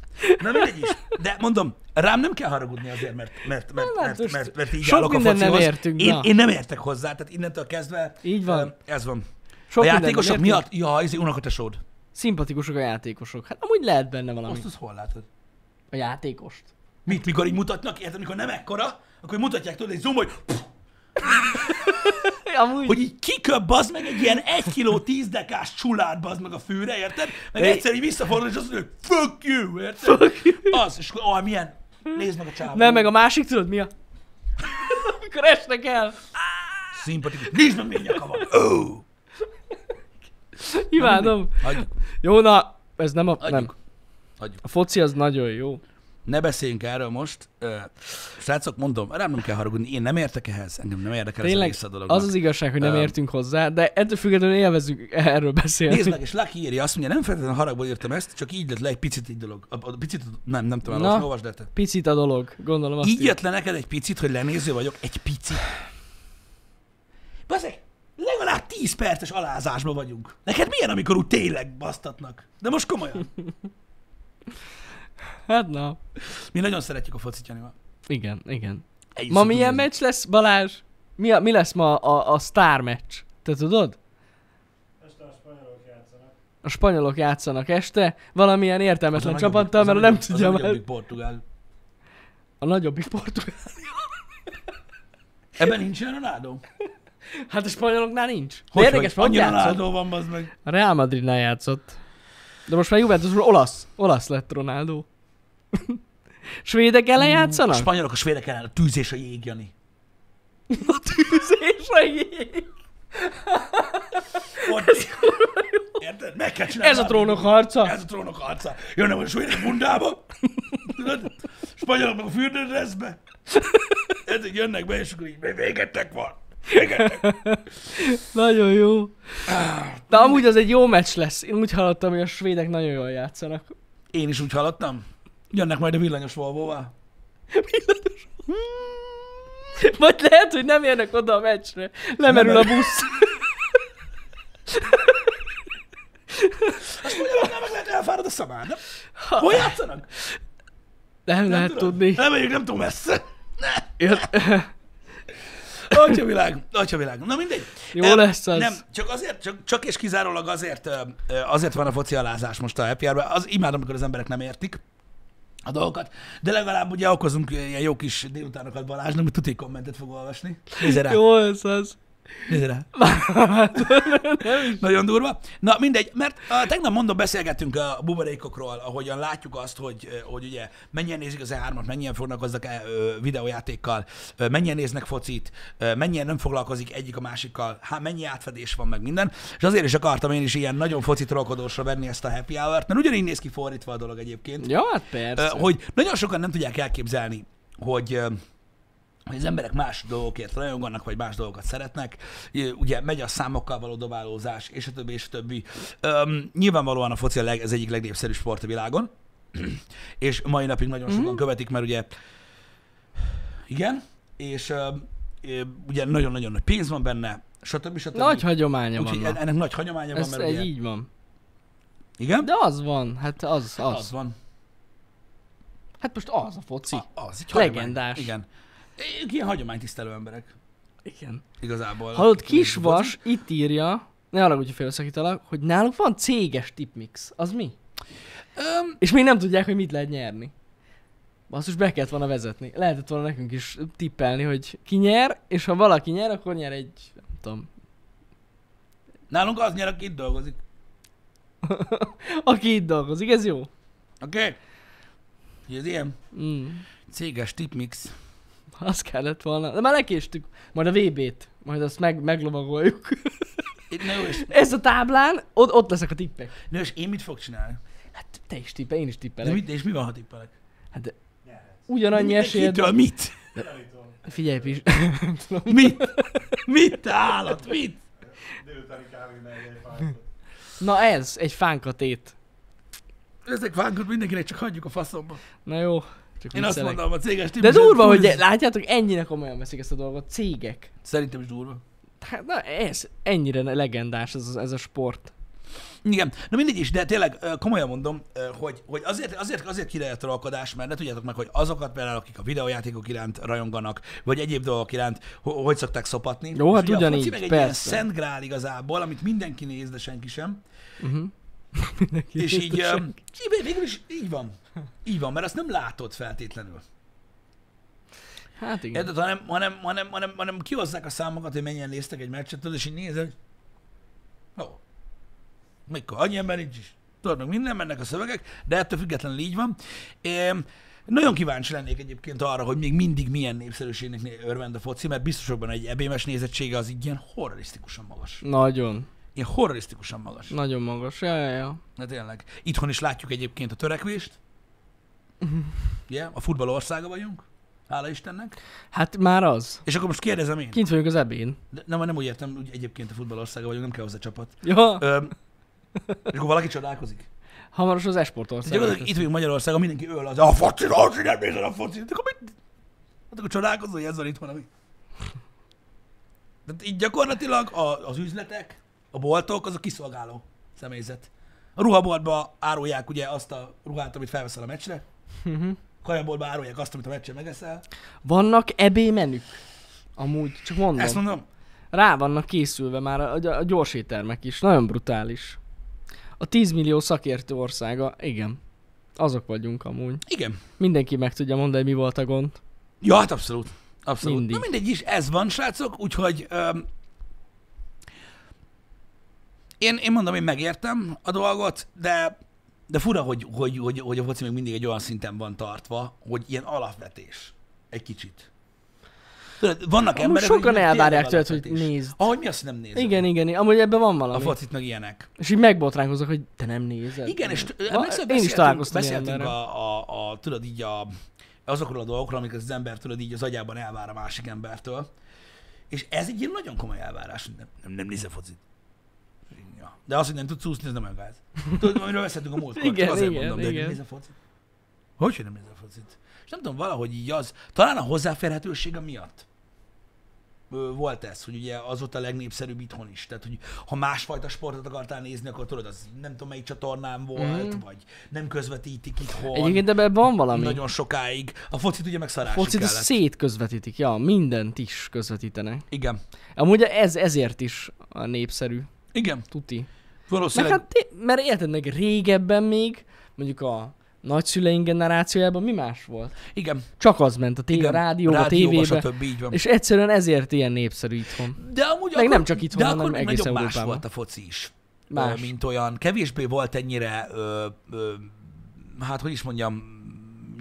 Na mindegy is. De mondom, rám nem kell haragudni azért, mert, mert, mert, Na, mert, Hát most mert, mert, mert így sok állok a mindent nem focihoz. értünk, én, na. én nem értek hozzá, tehát innentől kezdve Így van. ö, ez van. Sok a mindent játékosok nem értünk. miatt, ja, ez unokatesód. Szimpatikusok a játékosok. Hát amúgy lehet benne valami. Azt az hol látod? A játékost. Mit, mikor így mutatnak, érted, mikor nem ekkora, akkor mutatják tudod, egy zoom, hogy pff, Amúgy... hogy így kiköp, bazd meg egy ilyen 1 kiló 10 dekás csulát, bazd meg a fűre, érted? Meg Egy- egyszer így visszafordul, és azt mondja, hogy fuck you, érted? Fuck you. Az, és akkor, ah, milyen, nézd meg a csávó. Nem, meg a másik, tudod mi a... Amikor esnek el. Szimpatikus. Nézd meg, milyen nyaka van. Ó! Imádom. Hagyjuk, Jó, na, ez nem a... Nem. hagyjuk. Hagyjuk. A foci az nagyon jó. Ne beszéljünk erről most. Ö, Srácok, mondom, rám nem kell haragudni, én nem értek ehhez, engem nem érdekel ez a Tényleg része a dolognak. az az igazság, hogy nem Öm. értünk hozzá, de ettől függetlenül élvezünk erről beszélni. Nézd meg, és Lucky írja, azt mondja, nem feltétlenül haragból írtam ezt, csak így lett le egy picit egy dolog. A, a picit, nem, nem tudom, Na. elolvasni, olvasd el te. Picit a dolog, gondolom azt Így ír- jött le neked egy picit, hogy lenéző vagyok? Egy picit. Bazeg, legalább 10 perces alázásban vagyunk. Neked milyen, amikor úgy tényleg basztatnak? De most komolyan. Hát na, Mi nagyon szeretjük a focit, Janival. igen, igen. Egyrészt Ma úgy milyen nézni. meccs lesz, Balázs? Mi, a, mi lesz ma a, a sztár meccs? Te tudod? Este a spanyolok játszanak. A spanyolok játszanak este, valamilyen Az a értelmetlen nagyobbik- csapattal, az a mert nem nagyobbik- tudja Az a már. nagyobbik portugál. A nagyobbik portugál. Ebben nincsen Ronaldo? Hát a spanyoloknál nincs. De Hogy, érdekes, hogy hogy annyi játszott. Ronaldo van, az meg. A Real Madridnál játszott. De most már Juventusról olasz. Olasz lett Ronaldo. Svédek ellen játszanak? A Mm, spanyolok a svédek ellen a tűz és a jég, Jani. a tűz és a jég. Ott... Érted? Meg kell csinálni. Ez a valamit. trónok harca. Ez a trónok arca. Jönnek a svédek bundába, tudod? Spanyolok meg a fürdődreszbe. Ezek jönnek be, és akkor így végettek van. Végettek. Nagyon jó. Ah. De amúgy az egy jó meccs lesz. Én úgy hallottam, hogy a svédek nagyon jól játszanak. Én is úgy hallottam. Jönnek majd a villanyos volvo Pillanatos. Vagy lehet, hogy nem érnek oda a meccsre. Lemerül a busz. A spanyoloknál meg lehet elfárad a szamár, nem? Hol játszanak? Nem lehet Tudod? tudni. Nem megyünk, nem tudom messze. Ja, Atya világ, atya világ. Na mindegy. Jó Em, lesz az. Nem, csak azért, csak, csak és kizárólag azért, ö, ö, azért van a focialázás most a happy hour Az imádom, amikor az emberek nem értik a dolgokat, de legalább ugye okozunk ilyen jó kis délutánokat Balázsnak, hogy tuti kommentet fog olvasni. Nézze rá, Jó lesz az. nézze rá. Nagyon durva. Na mindegy, mert uh, tegnap mondom, beszélgettünk a buborékokról, ahogyan látjuk azt, hogy, ö, hogy ugye mennyien nézik az E3-at, mennyien foglalkoznak e, ö, videójátékkal, ö, mennyien néznek focit, ö, mennyien nem foglalkozik egyik a másikkal, há, mennyi átfedés van meg minden. És azért is akartam én is ilyen nagyon focit trollkodósra venni ezt a happy hour-t, mert ugyanígy néz ki fordítva a dolog egyébként. Ja, hát Ö, persze. hogy nagyon sokan nem tudják elképzelni, hogy ö, hogy az emberek más dolgokért rajonganak, vagy más dolgokat szeretnek. Ö, Ugye megy a számokkal való dobálózás, és a többi, és a többi. Öm, nyilvánvalóan a foci a leg, az egyik legnépszerűbb sport a világon, és mai napig nagyon sokan Mhm. mm-hmm. követik, mert ugye igen, és öm, ö, ugye nagyon-nagyon nagy pénz van benne, stb. stb. Nagy hagyománya Úgyhogy van. ennek nagy hagyománya van, Ez mert egy ugye... így van. Igen? De az van, hát az, az. az van. Ah. Hát most az a foci. A- Az, egy Legendás. hagyomány. Igen. Ők ilyen hagyománytisztelő emberek. Igen. Igazából. Hallott, Kisvas itt írja, ne arra úgy, hogy félszakítalak, hogy náluk van céges tipmix. Az mi? Öm, És még nem tudják, hogy mit lehet nyerni. Basszus, be kellett volna vezetni. Lehetett volna nekünk is tippelni, hogy ki nyer, és ha valaki nyer, akkor nyer egy, nem tudom, nálunk az nyer, aki itt dolgozik. aki itt dolgozik, ez jó. Oké? Okay? Ugye ez ilyen Mm. céges tipmix. Az kellett volna. De már lekéstük. Majd a VB-t. Majd azt meg, meglovagoljuk. Na jó, és, Ez a táblán, ott, ott leszek a tippek. na és én mit fog csinálni? Hát te is tippel, én is De tippelek. mit, és mi van, ha tippelek? Hát de Nyerhetsz. ugyanannyi esélyed Kitől mit? Tanítom. Figyelj, Pis. Mit? Mit, te állat? Mit? Délutáni kávé megyei fájtot. Na ez, egy fánkatét. Ezek vágod mindenkinek, csak hagyjuk a faszomba. Na jó, csak Én azt viccelek. mondom, a céges De tipmix. durva, hogy látjátok, ennyire komolyan veszik ezt a dolgot. Cégek. Szerintem is durva. Hát, na ez, ennyire legendás ez, ez a sport. Igen, na mindegy is, de tényleg ö, komolyan mondom, ö, hogy, hogy azért, azért, azért király a trollkodás, mert ne tudjátok meg, hogy azokat például, akik a videójátékok iránt rajonganak, vagy egyéb dolgok iránt, ho- hogy szokták szopatni. Jó, hát És ugye a foci ugyanígy, meg egy persze. ilyen szent grál igazából, amit mindenki néz, de senki sem. Uh-huh. és így, ö, így, végül is így van. Így van, mert azt nem látod feltétlenül. Hát igen. Érted, hanem, hanem, hanem, hanem, hanem kihozzák a számokat, hogy mennyien néztek egy meccset, tudod, és így nézed, hogy ó, mikor, annyi ember nincs is. Tudod, meg minden mennek a szövegek, de ettől függetlenül így van. É, nagyon kíváncsi lennék egyébként arra, hogy még mindig milyen népszerűségnek né- örvend a foci, mert biztos, hogy van egy ebémes nézettsége az így ilyen horrorisztikusan magas. Nagyon, Ilyen horrorisztikusan magas. nagyon magas. Ja, ja, ja. Na tényleg. Itthon is látjuk egyébként a törekvést. Yeah, a futball országa vagyunk. Hála Istennek. Hát már az. És akkor most kérdezem én. Kint vagyunk az ebén. De, nem, nem úgy értem, úgy egyébként a futballországa vagyunk, nem kell hozzá csapat. Ja, Öm, és akkor valaki csodálkozik. Szóval- hamaros az esport De ország. gyakorlatilag itt vagyunk Magyarországon, mindenki öl az, a foci, foci, nem nézel a foci. De akkor mit? Hát akkor csodálkozol, hogy ez van itt valami. Tehát így gyakorlatilag a, az üzletek, a boltok, az a kiszolgáló személyzet. A ruhaboltba árulják ugye azt a ruhát, amit felveszel a meccsre. Mhm. Uh-huh. Kajaboltba árulják azt, amit a meccsen megeszel. Vannak ebé menük. Amúgy, csak mondom. Ezt mondom, Rá vannak készülve már a, a, a gyors éttermek is. Nagyon brutális. A 10 millió szakértő országa, igen. Azok vagyunk amúgy. igen. Mindenki meg tudja mondani, mi volt a gond. Ja, hát abszolút. Abszolút. Mindig. Mindig. Na mindegy is, ez van, srácok, úgyhogy öm, én, én mondom, én megértem a dolgot, de De fura, hogy, hogy, hogy, hogy a foci még mindig egy olyan szinten van tartva, hogy ilyen alapvetés. Egy kicsit. Tudod, vannak Amúgy emberek, sokan akiknek elvárják tényleg tőled, hogy alapvetés. nézd. Ahogy mi azt nem nézünk. Igen, igen, igen, amúgy ebben van A valami. focit meg ilyenek. És így megbotránkozok, hogy te nem nézed. Igen, és t- Va- emlékszel, Én is beszéltünk, találkoztam beszéltünk ilyenre. a, a, a, tudod így a, azokról a dolgokról, amiket az ember tudod így az agyában elvár a másik embertől. És ez egy ilyen nagyon komoly elvárás, hogy nem, nem, nem nézel focit. Ja. De az, hogy nem tudsz úszni, ez nem olyan gáz. Tudod, amiről beszéltünk a múltkor, Igen, csak azért igen, mondom, de hogy igen. nem nézel focit. Hogy, hogy nem nézel focit? És nem tudom, valahogy így az, talán a hozzáférhetősége miatt ö, volt ez, hogy ugye az volt a legnépszerűbb itthon is. Tehát, hogy ha másfajta sportot akartál nézni, akkor tudod, az nem tudom melyik csatornán volt, mm. vagy nem közvetítik itthon. Mhm. Egyébként ebben van valami. nagyon sokáig. A focit ugye meg szarásig Focit is kellett. szétközvetítik, ja, mindent is közvetítenek. Igen. Amúgy ez ezért is a népszerű, Igen. tuti. Meg Valószínűleg. hát, té- mert érted meg régebben még, mondjuk a nagyszüleink generációjában mi más volt? Igen. Csak az ment a, té- igen. a rádióba, a tévébe, stb. Így van. és egyszerűen ezért ilyen népszerű itthon. De amúgy Meg nem csak itthon, de hanem akkor még egész nagyon más Európában. volt a foci is. Más. Más. Mint olyan. Kevésbé volt ennyire, ö, ö, hát hogy is mondjam,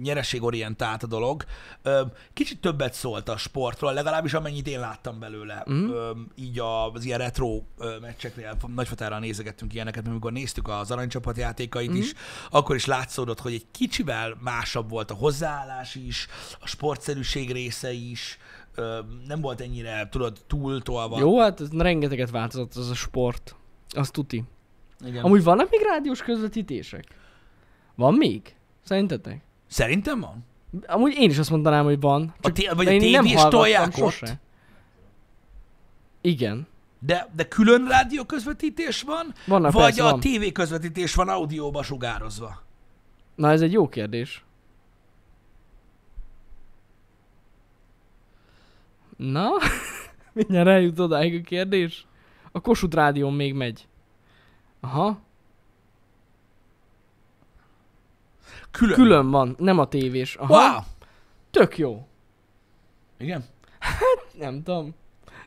nyereségorientált a dolog. Ö, kicsit többet szólt a sportról, legalábbis amennyit én láttam belőle. Mhm. Mm. Ö, így a- az ilyen retro ö, meccseknél nagyfatárral nézegettünk ilyeneket, mert amikor néztük az aranycsapat játékait mm. is, Mhm. akkor is látszódott, hogy egy kicsivel másabb volt a hozzáállás is, a sportszerűség része is, ö, nem volt ennyire, tudod, túltolva. Jó, hát ez rengeteget változott az a sport. Az tuti. Igen. Amúgy vannak még rádiós közvetítések? Van még? Szerintetek? Szerintem van. Amúgy én is azt mondanám, hogy van. A té- vagy de a én nem tévés hallgattam tolják sose. ott, Igen. de, de külön rádió közvetítés van, Vannak vagy persze, a van. tévé közvetítés van audióba sugározva. Na ez egy jó kérdés. Na, mindjárt eljut odáig a kérdés. A Kossuth Rádión még megy. Aha, Külön. külön van, nem a tévés. Aha, Wow! tök jó. Igen. Nem tudom.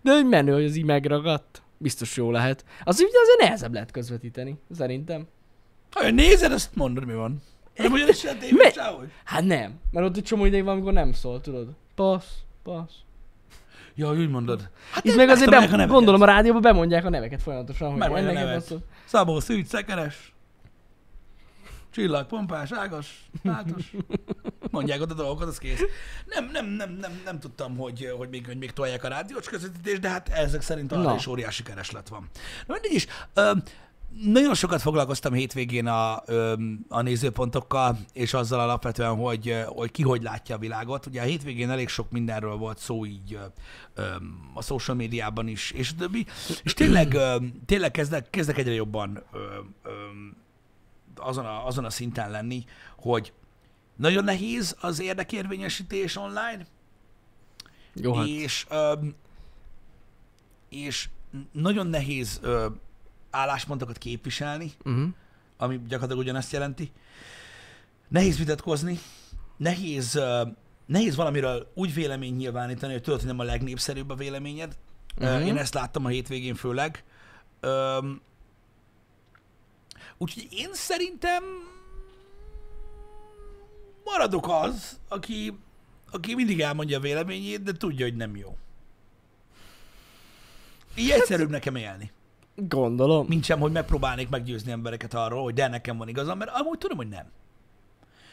De hogy menő, hogy az így megragadt. Biztos jó lehet. Az ugye azért nehezebb lehet közvetíteni, szerintem. Ha nézed, azt mondod, mi van. Nem ugyanis a tévé, Me- sehogy. Hát nem, mert ott egy csomó ideig van, amikor nem szól, tudod. Passz, passz. Ja, úgy mondod. Hát Itt én meg azért megtanulják be, neveket. gondolom a rádióban bemondják a neveket folyamatosan, hogy Megmondja a ennek nevet. passzol. Szabó, szűcs, szekeres. Csillag, pompás, ágas, látos. Mondják ott a dolgokat, az kész. Nem, nem, nem, nem, nem tudtam, hogy, hogy, még, hogy még tolják a rádiós közvetítést, de hát ezek szerint arra Na. is óriási kereslet van. Na mindig is, ö, nagyon sokat foglalkoztam hétvégén a, ö, a nézőpontokkal, és azzal alapvetően, hogy, ö, hogy ki hogy látja a világot. Ugye a hétvégén elég sok mindenről volt szó így ö, ö, a social médiában is, és a többi. És tényleg, ö, tényleg kezdek, kezdek egyre jobban ö, ö, azon a, azon a szinten lenni, hogy nagyon nehéz az érdekérvényesítés online, Jó, hát. és, öm, és n- nagyon nehéz ö, álláspontokat képviselni, Uh-huh. ami gyakorlatilag ugyanazt jelenti. Nehéz vitatkozni, nehéz, ö, nehéz valamiről úgy vélemény nyilvánítani, hogy tudod, hogy nem a legnépszerűbb a véleményed. Mhm. Uh-huh. Én ezt láttam a hétvégén főleg. Öm, Úgyhogy én szerintem maradok az, aki, aki mindig elmondja a véleményét, de tudja, hogy nem jó. Így egyszerűbb nekem élni Gondolom. mint sem, hogy megpróbálnék meggyőzni embereket arról, hogy de nekem van igazam, mert amúgy tudom, hogy nem.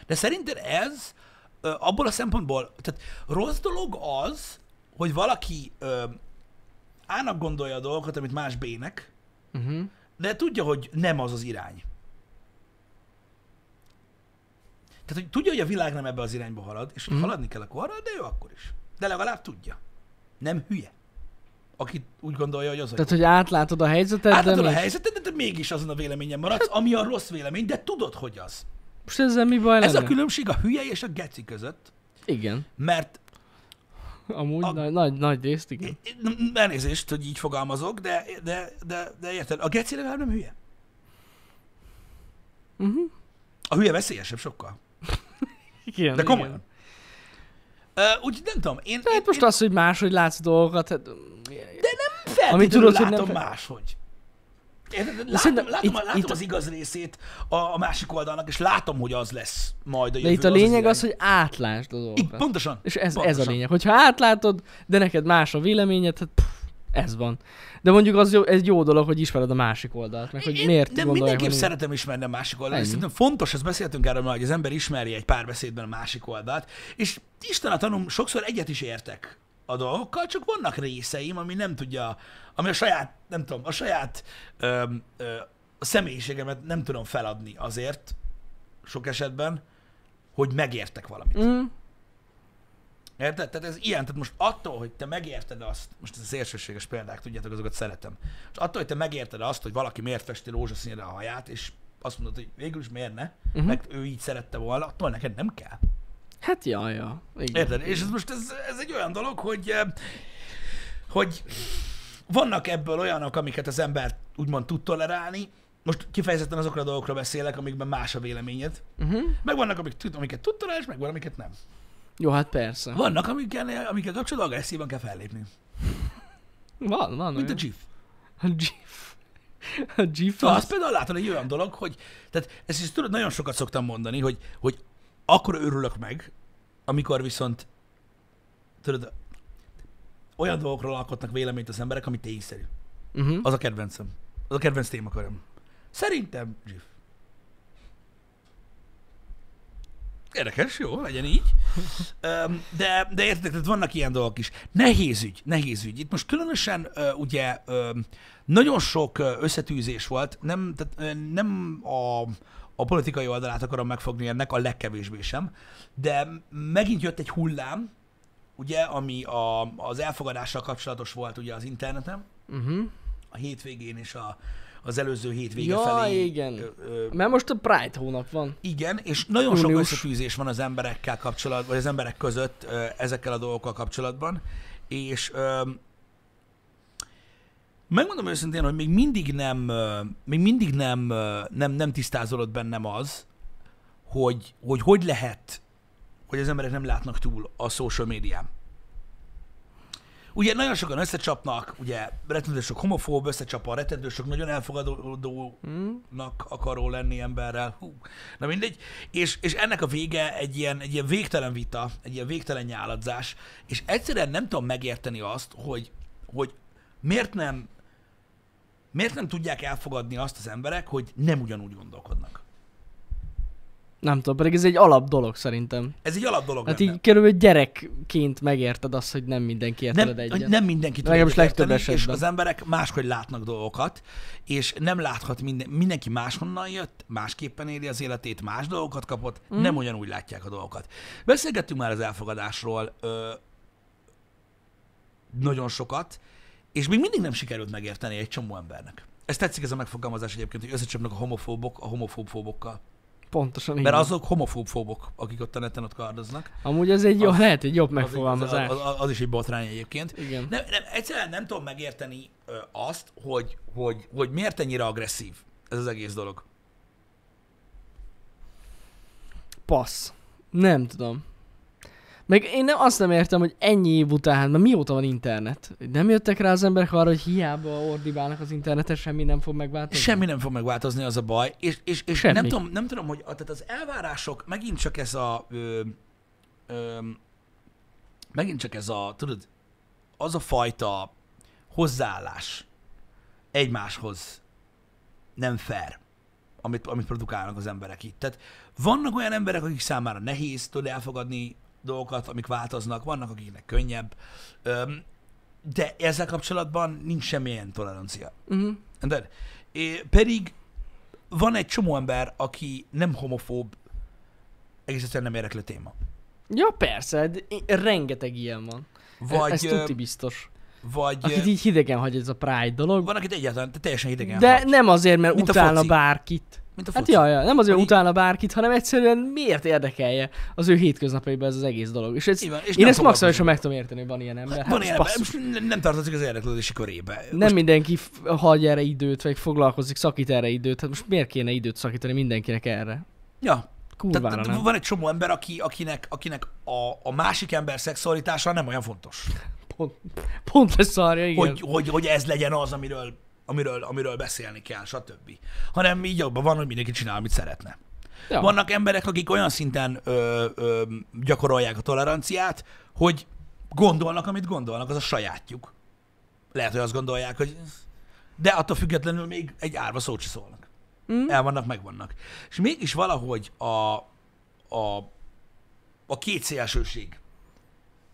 De szerinted ez ö, abból a szempontból, tehát rossz dolog az, hogy valaki ö, ának gondolja a dolgokat, amit más bének, Uh-huh. de tudja, hogy nem az az irány. Tehát, hogy tudja, hogy a világ nem ebbe az irányba halad, és hogy haladni kell, akkor halad, de ő akkor is. De legalább tudja. Nem hülye. Aki úgy gondolja, hogy az a jó. Tehát, hogy átlátod a helyzetet, Átadod de Hát, a mi- helyzetet, de te mégis azon a véleményen maradsz, ami a rossz vélemény, de tudod, hogy az. Most ezzel mi baj Ez lenne? a különbség a hülye és a geci között, Igen. mert Amúgy A- nagy, nagy, nagy részt, igen. n- elnézést, hogy így fogalmazok, de, de, de, de érted, a geci legalább nem hülye. Uh-huh. A hülye veszélyesebb sokkal. igen De komolyan. igen. Uh, úgy nem tudom, én, De én, hát most én az, hogy máshogy látsz dolgokat, hát... feltétlenül Amit tudod, hogy nem látom fel- máshogy. Érted? Látom, szerintem látom, itt- látom itt- az igaz részét a, a másik oldalnak, és látom, hogy az lesz majd a jövő. De itt a az az lényeg irány. az, hogy átlásd a dolgokat. Így, pontosan. És ez, ez a pontosan. lényeg. Hogyha átlátod, de neked más a véleményed, hát pff, ez van. De mondjuk az jó, ez jó dolog, hogy ismered a másik oldalt, meg hogy Én- miért De gondolják, mindenképp hogy- szeretem ismerni a másik oldalt. és Ennyi. Szerintem fontos, ezt beszéltünk erről már, hogy az ember ismerje egy párbeszédben a másik oldalt. És Isten a tanum, sokszor egyet is értek a dolgokkal, csak vannak részeim, ami nem tudja, ami a saját, nem tudom, a saját öm, ö, a személyiségemet nem tudom feladni azért, sok esetben, hogy megértek valamit. Mm, Érted? Tehát ez ilyen, tehát most attól, hogy te megérted azt, most ez a szélsőséges példák, tudjátok, azokat szeretem. Most attól, hogy te megérted azt, hogy valaki miért festi rózsaszínre a haját, és azt mondod, hogy végül is miért ne, uh-huh. Mhm. meg ő így szerette volna, attól neked nem kell. hát ja, ja. Igen. Érted? És ez most ez, ez egy olyan dolog, hogy, eh, hogy vannak ebből olyanok, amiket az ember úgymond tud tolerálni, most kifejezetten azokra a dolgokra beszélek, amikben más a véleményed. Uh-huh. Meg vannak, amik, tud- amiket tud tolerálni, és meg van, amiket nem. Jó, hát persze. Vannak, amikkel, amikkel kapcsolatban agresszívan kell fellépni. Van, van. Mint a olyan. GIF. A GIF. A GIF Na, az... azt például látod egy olyan dolog, hogy, tehát ezt is tudod, nagyon sokat szoktam mondani, hogy, hogy akkor örülök meg, amikor viszont, tudod, olyan dolgokról alkotnak véleményt az emberek, ami tényszerű. Uh-huh. Az a kedvencem. Az a kedvenc témaköröm. Szerintem GIF. Érdekes, jó, legyen így. Öm, De, de értek, tehát vannak ilyen dolgok is. Nehéz ügy, nehéz ügy. Itt most különösen ö, ugye öm, nagyon sok ö, összetűzés volt, nem, tehát, ö, nem a, a politikai oldalát akarom megfogni ennek, a legkevésbé sem, de megint jött egy hullám, ugye, ami a, az elfogadással kapcsolatos volt ugye az interneten, Uh-huh. a hétvégén és a, az előző hétvége Ja, felé. igen. Ö, ö, Mert most a Pride hónap van. igen, és nagyon sok Június. összetűzés van az emberekkel kapcsolatban, vagy az emberek között ö, ezekkel a dolgokkal kapcsolatban, és ö, megmondom őszintén, hogy még mindig nem, ö, még mindig nem, ö, nem, nem tisztázolott bennem az, hogy, hogy hogy lehet, hogy az emberek nem látnak túl a social médián. Ugye nagyon sokan összecsapnak, ugye rettentő sok homofób összecsap, a rettentő sok nagyon elfogadó Mm. nak akaró lenni emberrel. Hú. Na mindegy. És, és ennek a vége egy ilyen, egy ilyen végtelen vita, egy ilyen végtelen nyáladzás, és egyszerűen nem tudom megérteni azt, hogy, hogy miért nem miért nem tudják elfogadni azt az emberek, hogy nem ugyanúgy gondolkodnak. Nem tudom, pedig ez egy alap dolog szerintem. Ez egy alap dolog Hát lenne. így körülbelül gyerekként megérted azt, hogy nem mindenki ért veled nem, egyet. hogy nem mindenki tud Legalábbis egyet legtöbb érteni, és esetben. az emberek máshogy látnak dolgokat, és nem láthat minden, mindenki máshonnan jött, másképpen éli az életét, más dolgokat kapott, mm. nem ugyanúgy látják a dolgokat. Beszélgettünk már az elfogadásról ö, nagyon sokat, és még mindig nem sikerült megérteni egy csomó embernek. Ez tetszik ez a megfogalmazás egyébként, hogy összecsapnak a homofóbok a homofóbfóbokkal. Pontosan így. Mert azok homofóbfóbok, akik ott a neten ott kardoznak. Amúgy ez egy jó, az- lehet egy jobb Az- megfogalmazás. Az, az, az is egy botrány egyébként. Igen. Nem, nem, egyszerűen nem tudom megérteni ö, azt, hogy, hogy, hogy miért ennyire agresszív ez az egész dolog. Passz. Nem tudom. Meg én nem, azt nem értem, hogy ennyi év után, mert mióta van internet? Nem jöttek rá az emberek arra, hogy hiába ordibálnak az interneten, semmi nem fog megváltozni? Semmi nem fog megváltozni, az a baj. És, és, és Semmi. nem, tudom, nem tudom, hogy a, tehát az elvárások, megint csak ez a... Ö, ö, megint csak ez a, tudod, az a fajta hozzáállás egymáshoz nem fair, amit, amit produkálnak az emberek itt. Tehát vannak olyan emberek, akik számára nehéz tud elfogadni dolgokat, amik változnak, vannak, akiknek könnyebb, öm, de ezzel kapcsolatban nincs semmilyen tolerancia. Uh-huh. Érted? É, pedig van egy csomó ember, aki nem homofób, egész egyszerűen nem érdekli a téma. Ja, persze, de i- rengeteg ilyen van. Vagy, Vagy, ez ö, tuti biztos. vagy Akit ö, így hidegen hagy ez a Pride dolog. van, akit egyáltalán te teljesen hidegen De hagy, nem azért, mert Mint a utálna foci. bárkit. mint a Hát foci. jaj, jaj, nem azért, mert Pedig- utálna bárkit, hanem egyszerűen miért érdekelje az ő hétköznapjaiban ez az egész dolog. És, ez, Így van, és én nem ezt maximálisan foglalkozunk. meg tudom érteni, hogy van ilyen ember. Hát, van ez ilyen ember, basszus. most nem- nem tartozik az érdeklődési körébe. Nem mindenki f- hagy erre időt, vagy foglalkozik, szakít erre időt. Hát most miért kéne időt szakítani mindenkinek erre? ja, Kurvára tehát, nem. van egy csomó ember, aki, akinek, akinek a, a másik ember szexualitása nem olyan fontos. Pont, pont lesz szarja, igen. Hogy, hogy, hogy ez legyen az, amiről amiről, amiről beszélni kell, stb. Hanem így abban van, hogy mindenki csinál, amit szeretne. Ja. Vannak emberek, akik olyan szinten ö, ö, gyakorolják a toleranciát, hogy gondolnak, amit gondolnak, az a sajátjuk. Lehet, hogy azt gondolják, hogy... De attól függetlenül még egy árva szót se szólnak. Mm. El vannak, megvannak. És mégis valahogy a, a, a két szélsőség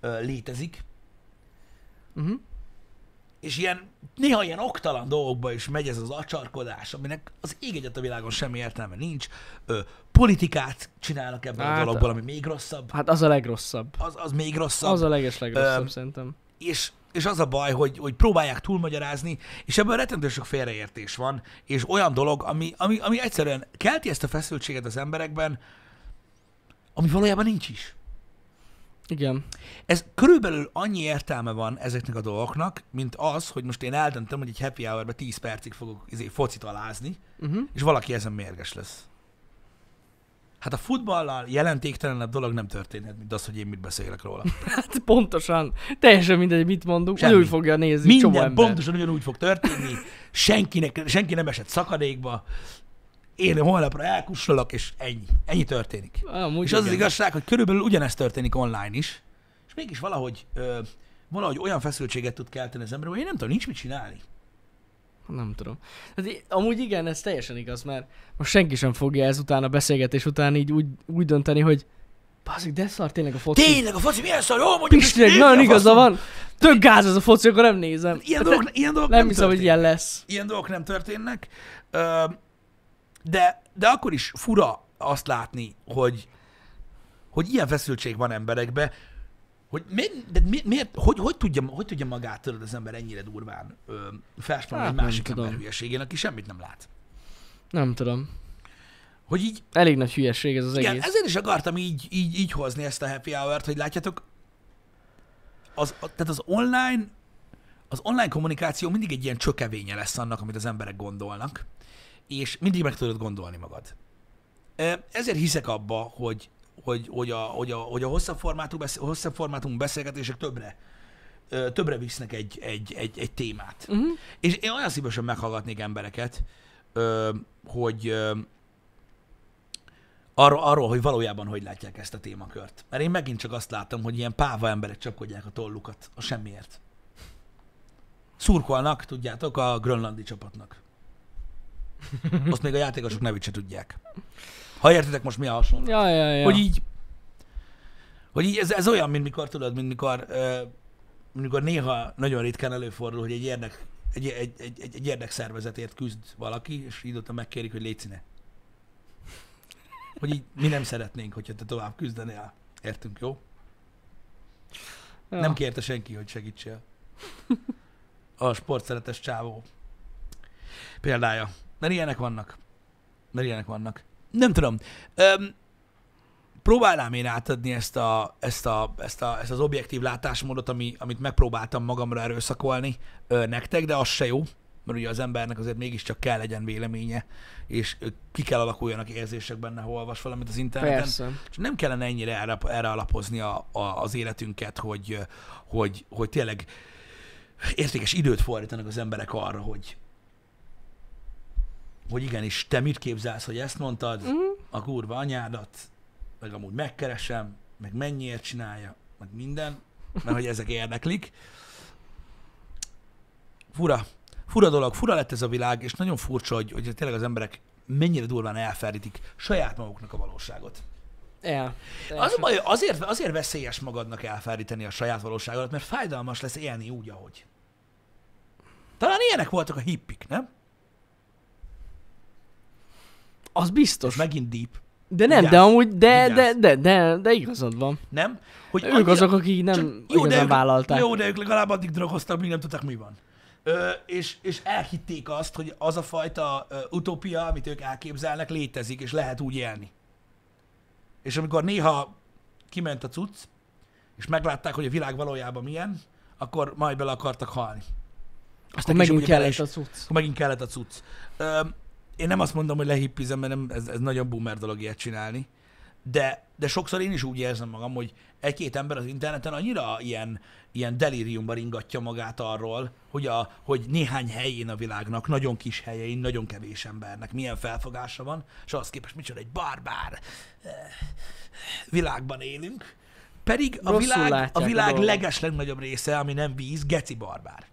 ö, létezik, Mhm. és ilyen, néha ilyen oktalan dolgokba is megy ez az acsarkodás, aminek az ég egyet a világon semmi értelme nincs. Ö, politikát csinálnak ebből Hát, a dologból, ami még rosszabb. Hát az a legrosszabb. Az, az még rosszabb. Az a legeslegrosszabb Öm, szerintem. és, és az a baj, hogy, hogy próbálják túlmagyarázni, és ebből rettentő sok félreértés van, és olyan dolog, ami, ami, ami egyszerűen kelti ezt a feszültséget az emberekben, ami valójában nincs is. Igen. Ez körülbelül annyi értelme van ezeknek a dolgoknak, mint az, hogy most én eldöntöm, hogy egy happy hour 10 percig fogok izé, focit alázni, Uh-huh. és valaki ezen mérges lesz. Hát a futballal jelentéktelenebb dolog nem történhet, mint az, hogy én mit beszélek róla. Hát pontosan. Teljesen mindegy, mit mondunk. Semmi. Semmi. Úgy fogja nézni csomó Minden ember. pontosan ugyanúgy fog történni, senkinek, senki nem esett szakadékba, én holnapra elkussolok, és ennyi. Ennyi történik. Amúgy és az az igen. igazság, hogy körülbelül ugyanezt történik online is, és mégis valahogy, ö, valahogy olyan feszültséget tud kelteni az ember, hogy én nem tudom, nincs mit csinálni. Nem tudom. Hát, i- amúgy igen, ez teljesen igaz, mert most senki sem fogja ezután a beszélgetés után így úgy, úgy dönteni, hogy Baszik, de szar tényleg a foci. Tényleg, a foci milyen szar, jól mondjuk, Pistinek nagyon igaza van. Tök gáz ez a foci, akkor nem nézem. Ilyen Hát dolgok, ilyen dolgok nem, nem, nem hiszem, hogy történnek. ilyen lesz. ilyen dolgok nem történnek, ö, de, de akkor is fura azt látni, hogy, hogy ilyen feszültség van emberekbe, hogy miért, de mi- miért hogy, hogy, tudja, hogy tudja magát tudod az ember ennyire durván ö, felspannolni Hát egy nem másik tudom. ember hülyeségén, aki semmit nem lát. Nem tudom. Hogy így, Elég nagy hülyeség ez az igen, egész. ezért is akartam így, így, így hozni ezt a happy hour-t, hogy látjátok, az, a, tehát az online, az online kommunikáció mindig egy ilyen csökevénye lesz annak, amit az emberek gondolnak, és mindig meg tudod gondolni magad. Ö, Ezért hiszek abba, hogy, hogy, hogy, a, hogy, a, hogy a hosszabb, formátú, besz- hosszabb formátum beszélgetések többre, ö, többre visznek egy, egy, egy, egy témát. Uh-huh. És én olyan szívesen meghallgatnék embereket, ö, hogy ö, arról, arról, hogy valójában hogy látják ezt a témakört. Mert én megint csak azt látom, hogy ilyen páva emberek csapkodják a tollukat a semmiért. Szurkolnak, tudjátok, a grönlandi csapatnak. Azt még a játékosok nevét se tudják. Ha értitek most mi a hasonló? Ja, ja, ja. Hogy így, hogy így ez, ez olyan, mint mikor tudod, mint mikor, ö, mint mikor néha nagyon ritkán előfordul, hogy egy érdek, egy, egy, egy, egy, egy érdekszervezetért küzd valaki, és időtől megkérik, hogy légy színe. Hogy így mi nem szeretnénk, hogyha te tovább küzdenél. Értünk, jó? ja. Nem kérte senki, hogy segítsél. A sportszeretes csávó példája. Mert ilyenek vannak. Mert ilyenek vannak. Nem tudom. Öm, próbálnám én átadni ezt, a, ezt, a, ezt, a, ezt az objektív látásmódot, ami, amit megpróbáltam magamra erőszakolni ö, nektek, de az se jó, mert ugye az embernek azért mégiscsak kell legyen véleménye, és ö, ki kell alakuljanak érzések benne, ha olvas valamit az interneten. Persze. És nem kellene ennyire erre, erre alapozni a, a, az életünket, hogy, hogy, hogy tényleg értékes időt fordítanak az emberek arra, hogy hogy igenis, te mit képzelsz, hogy ezt mondtad, mm. a kurva anyádat, meg amúgy megkeresem, meg mennyiért csinálja, meg minden, mert hogy ezek érdeklik. Fura. Fura dolog, fura lett ez a világ, és nagyon furcsa, hogy, hogy tényleg az emberek mennyire durván elferítik saját maguknak a valóságot. Ja. Az a baj, hogy azért, azért veszélyes magadnak elfárítani a saját valóságodat, mert fájdalmas lesz élni úgy, ahogy. Talán ilyenek voltak a hippik, nem? az Ez biztos. megint deep, De nem, Vigyázz, de amúgy, de, de, vigyázz. de, de, de igazad van. nem? Hogy Ők azok, akik így csak- nem de igazán ők, vállalták. Jó, de ők legalább addig drogoztak, míg nem tudták, mi van. Ö, és, és elhitték azt, hogy az a fajta ö, utópia, amit ők elképzelnek, létezik, és lehet úgy élni. És amikor néha kiment a cucc, és meglátták, hogy a világ valójában milyen, akkor majd bele akartak halni. Aztán neki is megint ugye bele kellett is- a cucc. akkor megint kellett a cucc. Ö, én nem azt mondom, hogy lehippizem, mert nem, ez, ez nagyon boomer dolog ilyet csinálni, de, de sokszor én is úgy érzem magam, hogy egy-két ember az interneten annyira ilyen, ilyen delíriumban ringatja magát arról, hogy, a, hogy néhány helyén a világnak, nagyon kis helyein, nagyon kevés embernek milyen felfogása van, és ahhoz képest micsoda egy barbár eh, világban élünk. Pedig a Rosszul világ, a látják a világ dolgot. legeslegnagyobb része, ami nem víz, geci barbár.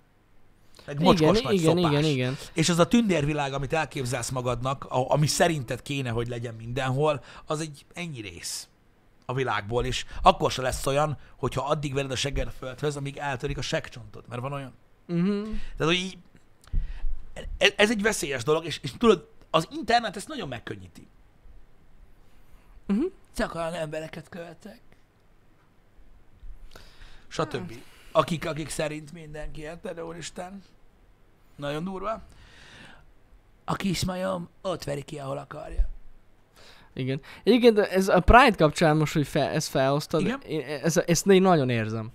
Egy Igen, mocskos igen, nagy igen, szopás. igen, igen. És az a tündérvilág, amit elképzelsz magadnak, a- ami szerinted kéne, hogy legyen mindenhol, az egy ennyi rész a világból, és akkor se lesz olyan, hogyha addig vered a segged a földhöz, amíg eltörik a seggcsontod, mert van olyan. Uh-huh. Tehát, hogy így, ez, ez egy veszélyes dolog, és, és tudod, az internet ezt nagyon megkönnyíti. Mhm. Csak olyan embereket követek. Stb. Akik, akik szerint mindenki ilyen terroristán. Nagyon durva. A kismajom ott veri ki, ahol akarja. Igen. Egyébként ez a Pride kapcsán most, hogy fe, ezt felosztad, Igen. én, ez, ezt én nagyon érzem.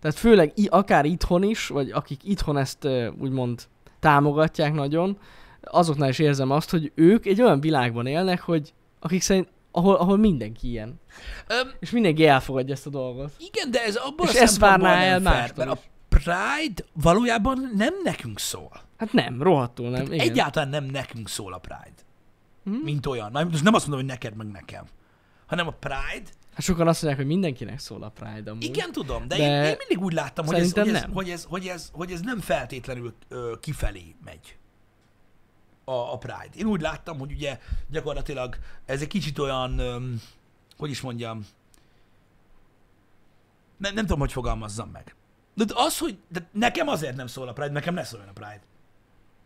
Tehát főleg i, akár itthon is, vagy akik itthon ezt ö, úgymond támogatják nagyon, azoknál is érzem azt, hogy ők egy olyan világban élnek, hogy akik szerint, ahol, ahol mindenki ilyen. Öm, És mindenki elfogadja ezt a dolgot. igen, de ez abból És a ezt szempontból várná nem el fair, mástól mert a Pride valójában nem nekünk szól. Hát nem, rohadtul nem. Igen. Egyáltalán nem nekünk szól a Pride. Mhm. Mint olyan. Na, most nem azt mondom, hogy neked, meg nekem. Hanem a Pride. Hát sokan azt mondják, hogy mindenkinek szól a Pride amúgy. Igen, tudom, de, de... Én, De én mindig úgy láttam, hogy ez, szerintem hogy, ez, nem. hogy, ez, hogy, ez, hogy ez nem feltétlenül ö, kifelé megy a, a Pride. Én úgy láttam, hogy ugye gyakorlatilag ez egy kicsit olyan, öm, hogy is mondjam, nem, nem tudom, hogy fogalmazzam meg. De az, hogy de nekem azért nem szól a Pride, nekem ne szóljon a Pride.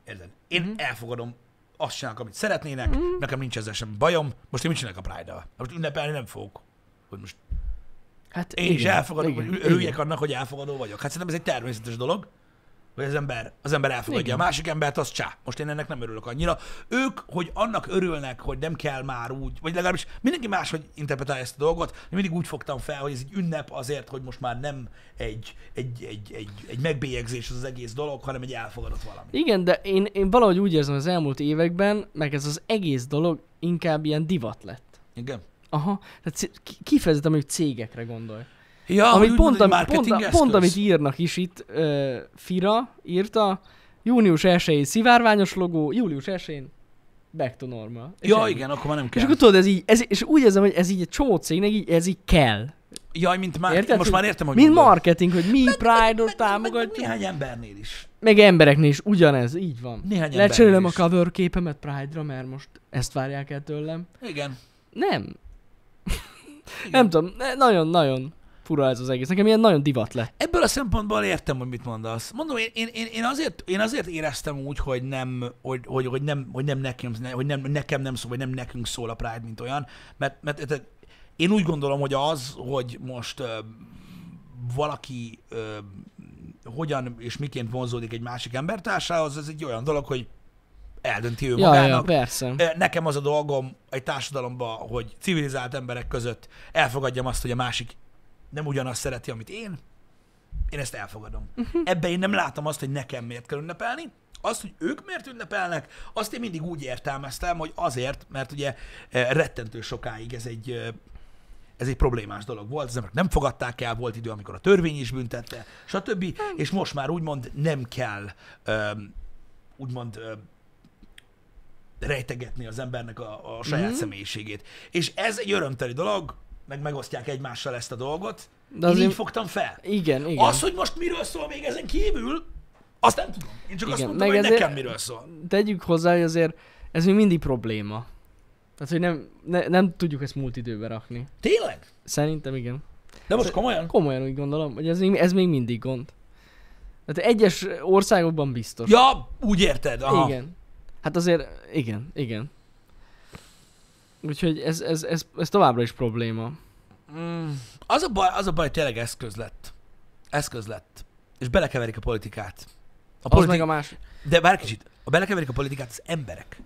Érted? Én Mhm. mm-hmm. elfogadom azt csinálok, amit szeretnének, mm-hmm. nekem nincs ezzel sem bajom, most én mit csinálok a Pride-dal? Most ünnepelni nem fogok, hogy most Hát én igen, is elfogadom, igen, hogy igen. örüljek annak, hogy elfogadó vagyok. Hát szerintem ez egy természetes dolog, hogy az ember, az ember elfogadja Igen. a másik embert, az csá. Most én ennek nem örülök annyira. Ők, hogy annak örülnek, hogy nem kell már úgy, vagy legalábbis mindenki máshogy interpretálja ezt a dolgot, én mindig úgy fogtam fel, hogy ez egy ünnep azért, hogy most már nem egy, egy, egy, egy, egy megbélyegzés az, az egész dolog, hanem egy elfogadott valami. Igen, de én, én valahogy úgy érzem az elmúlt években, meg ez az egész dolog inkább ilyen divat lett. Igen. Aha, tehát c- ki- kifejezetten mondjuk cégekre gondolj. Ja, Amit hogy úgy pont, mondod, ami, hogy pont, a- marketingeszköz. pont, amit írnak is itt, uh, Fira írta, június 1-én szivárványos logó, július 1-én back to normal. És Ja, ennyi. igen, akkor már nem És kell. akkor tudod, ez így, ez, és úgy érzem, hogy ez így egy csó cégnek, így, ez így kell. Jaj, mint már, Érted? most már értem, hogy Mint mondod. marketing, hogy mi Pride-ot Meg- meg támogatjuk. Néhány embernél is. Meg embereknél is ugyanez, így van. Néhány Lecserélem a embernél is. cover képemet Pride-ra, mert most ezt várják el tőlem. Igen. Nem. nem tudom, ne- nagyon-nagyon fura ez az egész. Nekem ilyen nagyon divat lett. Ebből a szempontból értem, hogy mit mondasz. Mondom, én, én, én, én, azért, én azért éreztem úgy, hogy nem, hogy, hogy, hogy nem, hogy nem nekem, ne- hogy nem, nekem nem szól, vagy nem nekünk szól a Pride, mint olyan, mert, mert, tehát én úgy gondolom, hogy az, hogy most ö, valaki ö, hogyan és miként vonzódik egy másik embertársához, ez egy olyan dolog, hogy eldönti ő Ja, ja, magának. persze. Ö, Nekem az a dolgom egy társadalomban, hogy civilizált emberek között elfogadjam azt, hogy a másik nem ugyanazt szereti, amit én. Én ezt elfogadom. Uh-huh. Ebben én nem látom azt, hogy nekem miért kell ünnepelni. Azt, hogy ők miért ünnepelnek, azt én mindig úgy értelmeztem, hogy azért, mert ugye eh, rettentő sokáig ez egy eh, ez egy problémás dolog volt, az emberek nem fogadták el, volt idő, amikor a törvény is büntette, stb. És most már úgymond nem kell öm, úgymond öm, rejtegetni az embernek a, a saját mm. Mhm. személyiségét. És ez egy örömteli dolog, meg megosztják egymással ezt a dolgot. De De én azért- így fogtam fel. Igen, igen. Igen. Az, hogy most miről szól még ezen kívül, azt nem tudom. Én csak Igen, azt Igen, mondtam, meg hogy ezért- nekem miről szól. Tegyük hozzá, hogy azért ez még mindig probléma. Tehát, hogy nem, ne, nem tudjuk ezt múlt időbe rakni. Tényleg? Szerintem igen. De most komolyan? Komolyan úgy gondolom, hogy ez még, ez még mindig gond. Tehát egyes országokban biztos. Ja, úgy érted. Aha. Igen. Igen. Hát azért, igen, igen. Úgyhogy ez, ez, ez, ez továbbra is probléma. Az a baj, az a baj tényleg eszköz lett. Eszköz lett. És belekeverik a politikát. A Az politi- meg a más. De bár kicsit, a belekeverik a politikát az emberek.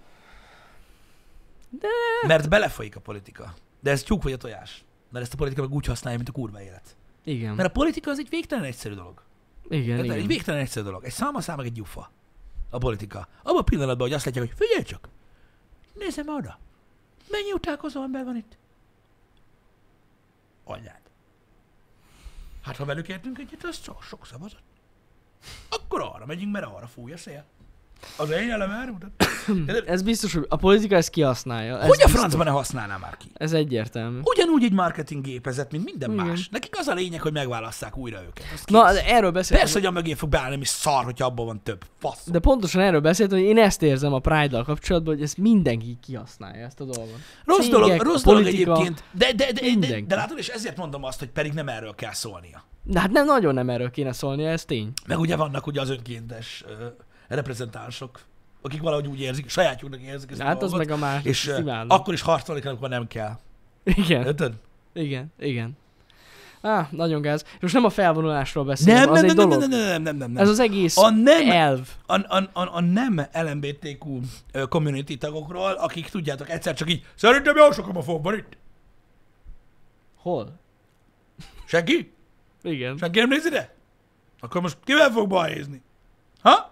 De... Mert belefolyik a politika. De ez tyúk vagy a tojás. Mert ezt a politika meg úgy használja, mint a kurva élet. Igen. Mert a politika az egy végtelen egyszerű dolog. Igen, Érted? Egy igen. végtelen egyszerű dolog. Egy száma meg egy gyufa. A politika. Abban a pillanatban, hogy azt látják, hogy figyelj csak, nézzem oda. Mennyi utálkozó ember van itt? Anyád. Hát ha velük értünk egyet, az so- sok szavazat. Akkor arra megyünk, mert arra fúj a szél. Az én elem elmutat. Ez biztos, hogy a politika ezt kihasználja. Ez Hogy a biztos. francban ne használná már ki? Ez egyértelmű. Ugyanúgy egy marketing gépezet, mint minden Igen. más. Nekik az a lényeg, hogy megválasszák újra őket. Azt Na, kész. de erről beszéltem. Persze, hogy a mögé fog beállni, mi szar, hogy abban van több. Fasz. De pontosan erről beszéltem, hogy én ezt érzem a Pride-dal kapcsolatban, hogy ezt mindenki kihasználja, ezt a dolgot. Rossz Cégek, dolog, rossz a dolog politika. egyébként, de, de, de, de, de, mindenki. de látod, és ezért mondom azt, hogy pedig nem erről kell szólnia. De hát nem, nagyon nem erről kéne szólnia, ez tény. Meg ugye vannak ugye az önkéntes ö, reprezentánsok, akik valahogy úgy érzik, sajátjuknak érzik ezt De a hát az dolgot, meg a másik. és ö, simán. akkor is harcolni kell, amikor nem kell. Igen, Érted? igen, igen. Á, nagyon gáz. És most nem a felvonulásról beszélünk, Nem, az nem, egy nem, nem, dolog. nem, nem, nem, nem, nem. Ez az E. egész A nem, elv. a, a, a, a nem LMBTQ ö, community tagokról, akik tudjátok, egyszer csak így, szerintem jó sok homofób van itt. Hol? Senki? Igen. Senki nem néz ide? Akkor most kivel fog balhézni? Ha?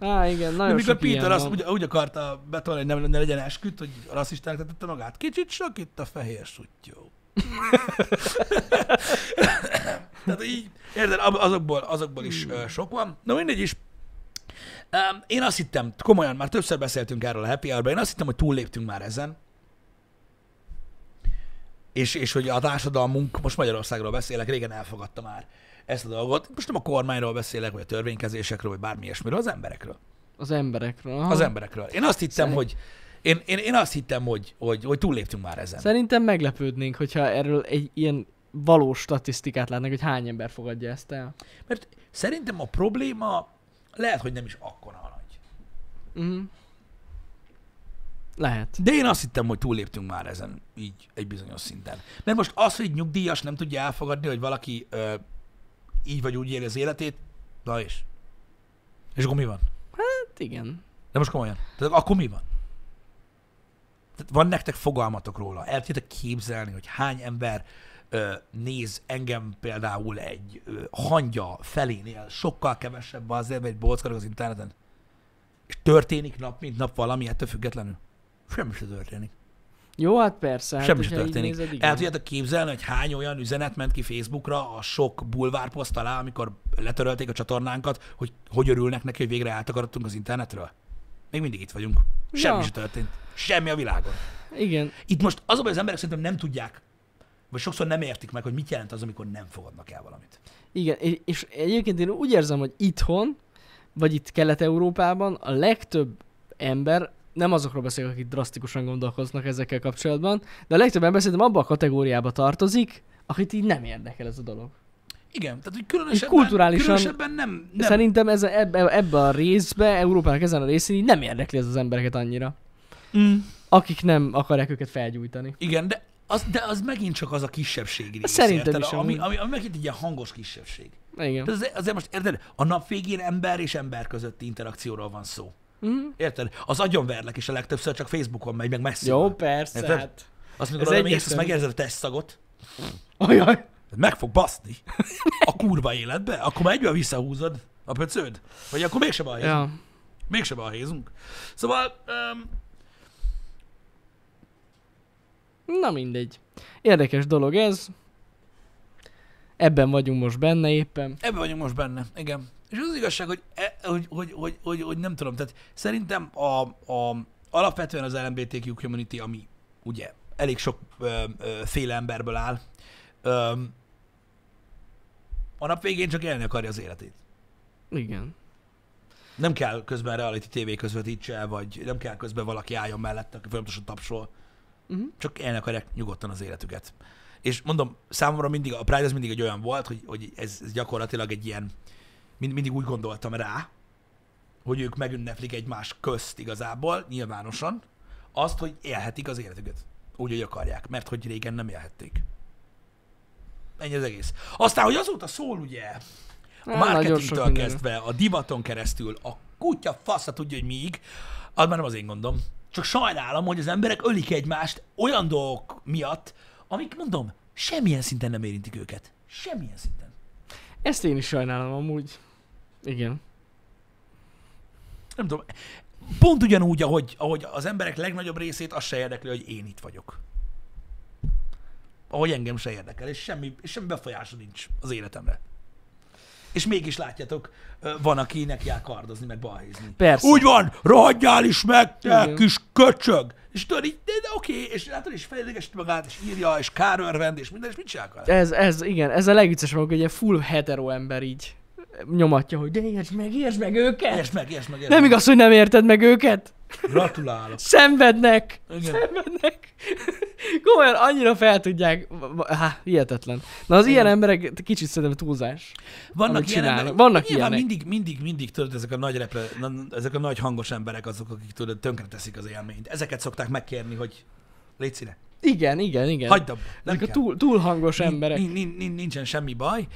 Á, igen, nagyon Amikor sok ilyen Peter azt van. úgy, úgy akarta betolni, hogy nem, ne legyen esküt, hogy rasszistának tetette magát. Kicsit sok itt a fehér sutyó. Tehát így, érted, ab- azokból, azokból is Hmm. ö, sok van. Na mindegy is. Em, Én azt hittem, komolyan, már többször beszéltünk erről a Happy hour én azt hittem, hogy túlléptünk már ezen. És, és hogy a társadalmunk, most Magyarországról beszélek, régen elfogadta már ezt a dolgot. Most nem a kormányról beszélek, vagy a törvénykezésekről, vagy bármi ilyesmiről, az emberekről. Az emberekről. Aha. Az emberekről. Én azt hittem, Szerint- hogy én, én, én azt hittem, hogy, hogy, hogy túlléptünk már ezen. Szerintem meglepődnénk, hogyha erről egy ilyen valós statisztikát látnak, hogy hány ember fogadja ezt el. Mert szerintem a probléma lehet, hogy nem is akkora nagy. Mhm. Lehet. De én azt hittem, hogy túlléptünk már ezen, így egy bizonyos szinten. Mert most az, hogy egy nyugdíjas nem tudja elfogadni, hogy valaki ö, így vagy úgy éli az életét, na és? És akkor mi van? Hát igen. De most komolyan. Tehát akkor mi van? Tehát van nektek fogalmatok róla. El tudjátok képzelni, hogy hány ember ö, néz engem például egy ö, hangya felénél sokkal kevesebb az ember, egy bolckarok az interneten. És történik nap, mint nap valami, ettől függetlenül. Semmi sem történik. Jó, hát persze. Hát, Semmi sem hogyha így történik. Nézed, igen. El tudjátok képzelni, hogy hány olyan üzenet ment ki Facebookra a sok bulvárposzt alá, amikor letörölték a csatornánkat, hogy hogy örülnek neki, hogy végre eltakarodtunk az internetről? Még mindig itt vagyunk. Semmi Ja. ja. sem történt. Semmi a világon. igen. Itt most az, a baj, hogy az emberek szerintem nem tudják, vagy sokszor nem értik meg, hogy mit jelent az, amikor nem fogadnak el valamit. Igen, és, és egyébként én úgy érzem, hogy itthon, vagy itt Kelet-Európában a legtöbb ember, nem azokról beszélek, akik drasztikusan gondolkoznak ezekkel kapcsolatban, de a legtöbb ember szerintem abba a kategóriába tartozik, akit így nem érdekel ez a dolog. Igen, tehát hogy különösebben, kulturálisan- különösebben nem, Nem. nem, Szerintem ez, ebbe, ebbe a részbe, Európának ezen a részén így nem érdekli ez az embereket annyira. Mm. Akik nem akarják őket felgyújtani. Igen, de az, de az megint csak az a kisebbségi rész, Szerintem érted? is ami, amúgy. ami, ami megint egy ilyen hangos kisebbség. Igen. Tehát az- azért most, érted? A nap végén ember és ember közötti interakcióról van szó. Mhm. Érted? Az agyonverlek is a legtöbbször csak Facebookon megy, meg messzi. Jó, persze. Érted? Hát. Azt ez mondod, hogy mész, azt egyértelmű. megérzed a testszagot, Ajaj. meg fog baszni a kurva életbe, akkor már egyből visszahúzod a pöcöd. Vagy akkor mégsem balhézunk. Ja. Ja. Mégsem balhézunk. Szóval, um, Na mindegy. Érdekes dolog ez. Ebben vagyunk most benne éppen. ebben vagyunk most benne. Igen. És az, az igazság, hogy, e, hogy, hogy, hogy, hogy, hogy, nem tudom, tehát szerintem a, a, alapvetően az LMBTQ community, ami ugye elég sok ö, ö, féle emberből áll, ö, a nap végén csak élni akarja az életét. Igen. Nem kell közben reality TV közvetítse, vagy nem kell közben valaki álljon mellette, aki folyamatosan tapsol. Mhm. Csak élni akarják nyugodtan az életüket. És mondom, számomra mindig, a Pride az mindig egy olyan volt, hogy, hogy ez, ez gyakorlatilag egy ilyen, mind, mindig úgy gondoltam rá, hogy ők megünneplik egymás közt igazából, nyilvánosan, azt, hogy élhetik az életüket. Úgy, hogy akarják, mert hogy régen nem élhették. Ennyi az egész. Aztán, hogy azóta szól ugye a Hát, nagyon sok marketingtől mindenről. kezdve, a divaton keresztül, a kutya fasza tudja, hogy miig, az már nem az én gondom. Csak sajnálom, hogy az emberek ölik egymást olyan dolgok miatt, amik mondom, semmilyen szinten nem érintik őket. Semmilyen szinten. Ezt én is sajnálom amúgy. Igen. Nem tudom, pont ugyanúgy, ahogy, ahogy az emberek legnagyobb részét, az se érdekli, hogy én itt vagyok. ahogy engem se érdekel, és semmi, és semmi befolyása nincs az életemre. És mégis látjátok, ö, van, aki neki jár kardozni, meg balhézni. Persze. Úgy van, rohadjál is meg, te Igen. kis köcsög! És tudod, így, de, de oké, és látod, és fejlődést magát, és írja, és kárörvend, és minden, és mit csinál? vele? Ez, ez, igen, ez a legviccesebb, hogy egy ilyen full hetero ember így nyomatja, hogy de értsd meg, értsd meg őket! Értsd meg, értsd meg, értsd Nem meg. igaz, hogy nem érted meg őket? Gratulálok. Szenvednek! Igen. Szenvednek! Komolyan annyira fel tudják. Há, hihetetlen. Na az ilyen emberek kicsit szerintem túlzás. Vannak amit ilyen csinálnak. emberek, Vannak nyilván ilyenek. mindig, mindig, mindig tudod, ezek a nagy, repre, na- ezek a nagy hangos emberek azok, akik tudod, tönkreteszik az élményt. Ezeket szokták megkérni, hogy légy színe. Igen, igen, igen. Hagyd abba, nem Ezek a kell. túl, túl hangos Nin- emberek. nin- nin- nin- Nincsen semmi baj.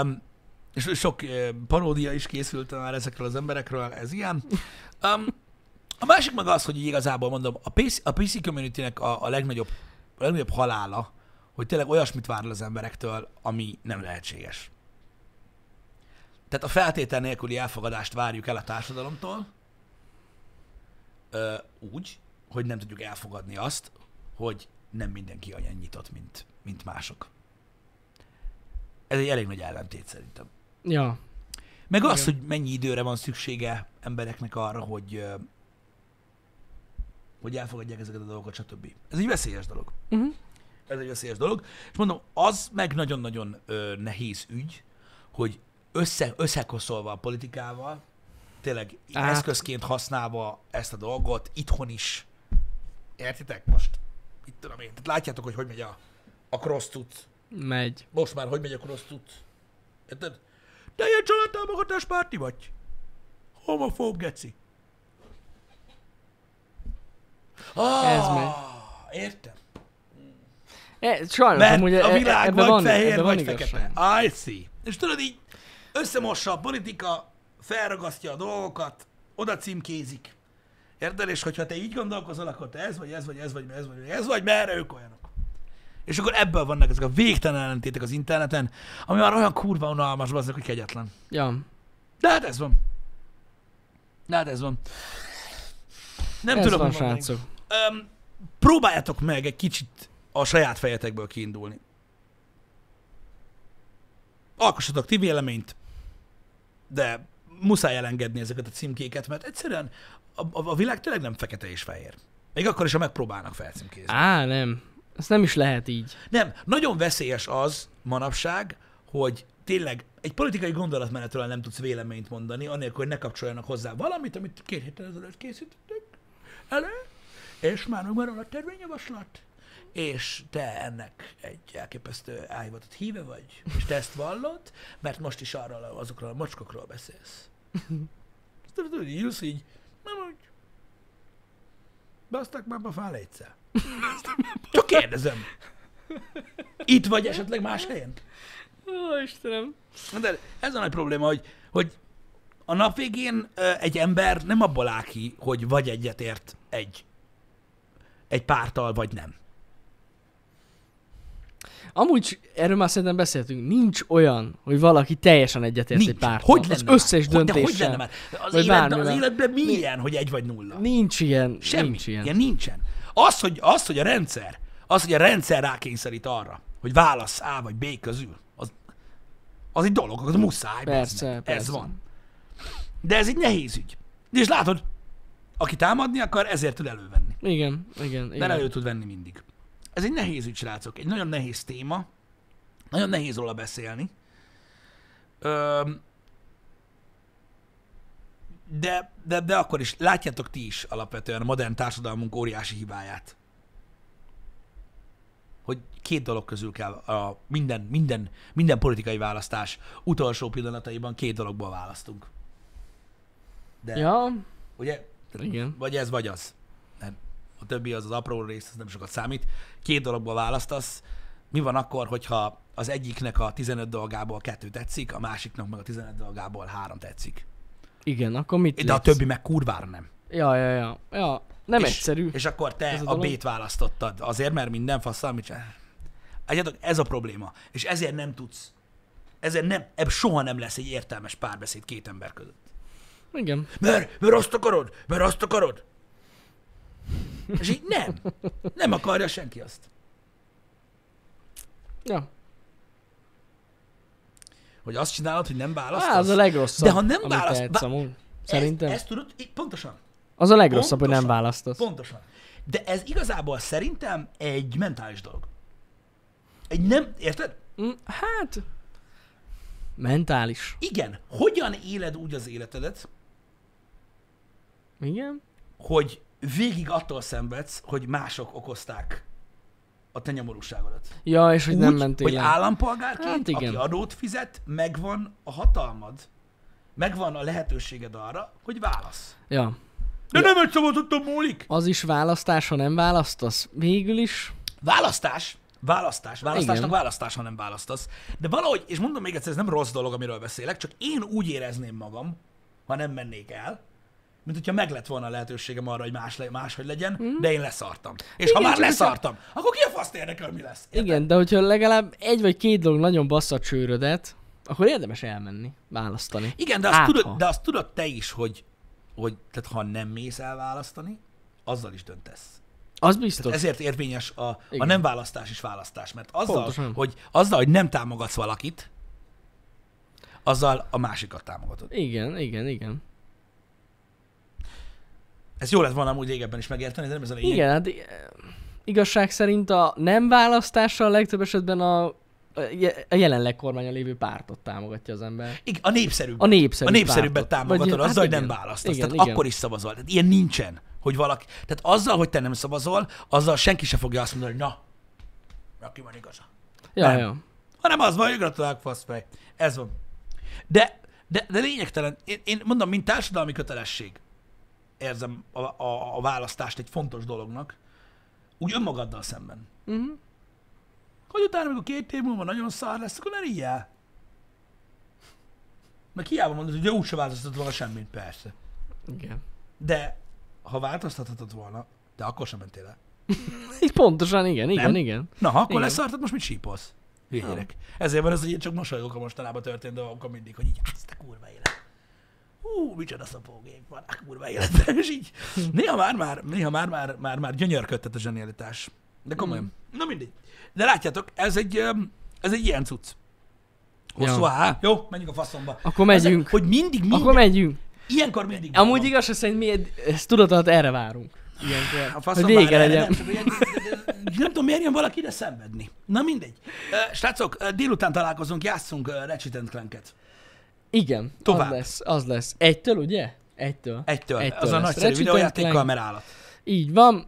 Um, és sok ö, paródia is készült már ezekről az emberekről, ez ilyen. Um, a másik meg az, hogy így igazából mondom, a PC, a PC community-nek a, a, legnagyobb, a legnagyobb halála, hogy tényleg olyasmit vár el az emberektől, ami nem lehetséges. Tehát a feltétel nélküli elfogadást várjuk el a társadalomtól, ö, úgy, hogy nem tudjuk elfogadni azt, hogy nem mindenki olyan nyitott, mint, mint mások. Ez egy elég nagy ellentét szerintem. Ja. Meg Igen. az, Igen. hogy mennyi időre van szüksége embereknek arra, hogy ö, hogy elfogadják ezeket a dolgokat, stb. Ez egy veszélyes dolog. Uh-huh. Ez egy veszélyes dolog. És mondom, az meg nagyon-nagyon ö, nehéz ügy, hogy össze, összekoszolva a politikával, tényleg Á. eszközként használva ezt a dolgot, itthon is. Értitek? Most, itt tudom én. Tehát látjátok, hogy hogy megy a, a cross tut. Megy. Most már hogy megy a cross tut. Érted? Te ilyen családtámogatás párti vagy. Homofób geci. Ah, Ez megy. Értem. E, sajnos, Mert amúgy a e- e- világ ebben vagy van, fehér, ebben van vagy igazság. fekete. I see. És tudod így, összemossa a politika, felragasztja a dolgokat, oda címkézik. Érted? És hogyha te így gondolkozol, akkor te ez vagy, ez vagy, ez vagy, ez vagy, ez vagy, merre ők olyanok. És akkor ebből vannak ezek a végtelen ellentétek az interneten, ami már olyan kurva unalmas, azok, hogy kegyetlen. Ja. De hát ez van. De hát ez van. Nem ez tudom, van, mit mondani. srácok. Öm, próbáljátok meg egy kicsit a saját fejetekből kiindulni. Alkossatok ti véleményt, de muszáj elengedni ezeket a címkéket, mert egyszerűen a, a, a világ tényleg nem fekete és fehér. Még akkor is, ha megpróbálnak felcímkézni. Á, nem. Ezt nem is lehet így. Nem, nagyon veszélyes az manapság, hogy tényleg egy politikai gondolatmenetről nem tudsz véleményt mondani, anélkül, hogy ne kapcsoljanak hozzá valamit, amit két héttel ezelőtt készítettek elő, és már megvan a törvényjavaslat, és te ennek egy elképesztő elhivatott híve vagy, és te ezt vallod, mert most is arról, a- azokról a mocskokról beszélsz. Tudod, tudod, így ülsz így, nem úgy. Basztak már a fán egyszer. Csak kérdezem. Itt vagy esetleg más helyen? Ó, Istenem. Na De ez a nagy probléma, hogy, hogy a nap végén ö, egy ember nem abból áll ki, hogy vagy egyetért egy, egy pártal, vagy nem. Amúgy erről már szerintem beszéltünk, nincs olyan, hogy valaki teljesen egyetért egy pártal. Hogy lenne az már? összes Hogy- de döntéssel. Hogy lenne már? Az, Vagy életben, az bármivel. életben milyen, hogy egy vagy nulla? Nincs ilyen. Semmi. Nincs ilyen. ilyen nincsen. Az hogy, az, hogy a rendszer, az, hogy a rendszer rákényszerít arra, hogy válasz A vagy B közül, az, az egy dolog, az muszáj. Persze, bazd meg. Ez persze. van. De ez egy nehéz ügy. És látod, aki támadni akar, ezért tud elővenni. Igen, igen, De igen. elő tud venni mindig. Ez egy nehéz ügy, srácok. Egy nagyon nehéz téma. Nagyon nehéz róla beszélni. Öm, de, de, de akkor is látjátok ti is alapvetően a modern társadalmunk óriási hibáját. Hogy két dolog közül kell a minden, minden, minden politikai választás utolsó pillanataiban két dologból választunk. De, Ja, ugye? igen. Vagy ez, vagy az. Nem. A többi az az apró rész, az nem sokat számít. Két dologból választasz. Mi van akkor, hogyha az egyiknek a 15 dolgából kettő tetszik, a másiknak meg a 15 dolgából három tetszik. Igen, akkor mit De a lépsz? többi meg kurvára nem. Ja, ja, ja. ja. Nem és, egyszerű. És akkor te ez a a, dolog. B-t választottad azért, mert minden faszal, mit csinál. Egyetek, ez a probléma. És ezért nem tudsz. Ezért nem, ebb soha nem lesz egy értelmes párbeszéd két ember között. Igen. Mert, mert azt akarod, mert azt akarod. És így nem. Nem akarja senki azt. Ja. Hogy azt csinálod, hogy nem Á, választasz? az a legrosszabb, De ha nem amit választ- tehetsz Vá- amúgy. Szerintem. Ezt, ezt tudod, így- pontosan. az a legrosszabb, hogy nem Pontosan. választasz. Pontosan. De ez igazából szerintem egy mentális dolog. Egy nem, érted? Mm, Hát... Mentális. Igen, hogyan éled úgy az életedet, Igen? hogy végig attól szenvedsz, hogy mások okozták a te nyomorúságodat. Ja, és hogy nem Úgy, mentél hogy el. Hát állampolgárként, hát igen. aki adót fizet, megvan a hatalmad, megvan a lehetőséged arra, hogy válasz. Ja. De ja. nem egy szavazottan múlik! Az is választás, ha nem választasz. Végül is. Választás, választás, választásnak Igen. Igen. választás, ha nem választasz. De valahogy, és mondom még egyszer, ez nem rossz dolog, amiről beszélek, csak én úgy érezném magam, ha nem mennék el, mint hogyha meg lett volna a lehetőségem arra, hogy más, le, máshogy legyen, mm. de én leszartam. És Igen, ha Hmm. Igen, már csak hogyha- leszartam, akkor ki a faszt érdekel, mi lesz? Érted? Igen, de hogyha legalább egy vagy két dolog nagyon bassza a csőrödet, akkor érdemes elmenni, választani. Igen, de azt, Hát, tudod, ha. de azt tudod te is, hogy, hogy tehát ha nem mész el választani, azzal is döntesz. Az biztos. Tehát ezért érvényes a, a Igen. nem választás is választás, mert azzal Pontosan. hogy, azzal, hogy nem támogatsz valakit, azzal a másikat támogatod. Igen, igen, igen. Ez jó lett volna amúgy régebben is megérteni, de nem ez a lényeg. Igen, hát i- igazság szerint a nem választással legtöbb esetben a, a je- a jelenleg kormányon lévő pártot támogatja az ember. Igen, a népszerűbb. A népszerű a népszerűbbet pártot. támogatod Vagy- azzal, hát hogy nem igen. választasz. Igen, tehát igen. akkor is szavazol. Tehát ilyen nincsen, hogy valaki... Tehát azzal, hogy te nem szavazol, azzal senki se fogja azt mondani, hogy na, neki van igaza. Ja, Nem. ja. hanem az van, hogy gratulálok, faszfej. Ez van. De, de, de lényegtelen, én, én mondom, mint társadalmi kötelesség érzem a, a, a választást egy fontos dolognak, úgy önmagaddal szemben. Mhm. Hogy utána, amikor két év múlva nagyon szar lesz, akkor ne ríjjál. Meg hiába mondod, hogy úgy se változtatod volna semmit, persze. Igen. De ha változtathatod volna, de akkor sem mentél el. Így pontosan, igen, igen, Nem? igen. Na, ha akkor Igen. leszartad, most mit sípolsz? Hülye gyerek. Ezért van ez, hogy én csak mosolyogok a mostanában történt dolgokon mindig, hogy így, ezt a kurva élet. Hú, micsoda szapógép van, a kurva életben, és így. Hm. Néha már, már, néha már, már, már, már gyönyörködtet a zsenialitás. De komolyan. Hm. Mm. Na mindegy. De látjátok, ez egy, öm, ez egy ilyen cucc. Hosszú Ja. ja. Jó, menjünk a faszomba. Akkor megyünk. Ezek, hogy mindig, mindig, Akkor megyünk. ilyenkor mindig. Amúgy van. igazság szerint mi egy- ezt tudatalat erre várunk. A Ilyenkor, faszom hogy vége már erre, legyen. Nem, csak ilyen- nem tudom, miért jön valaki ide szenvedni. Na mindegy. Ö, Srácok, ö, délután találkozunk, játszunk ö, Ratchet and Clanket. Igen, Tovább. az lesz, az lesz. Egytől, ugye? Egytől. Egytől. Egytől Az a lesz. nagyszerű Ratchet and videójátékkal, Clank. mert állat. Így van.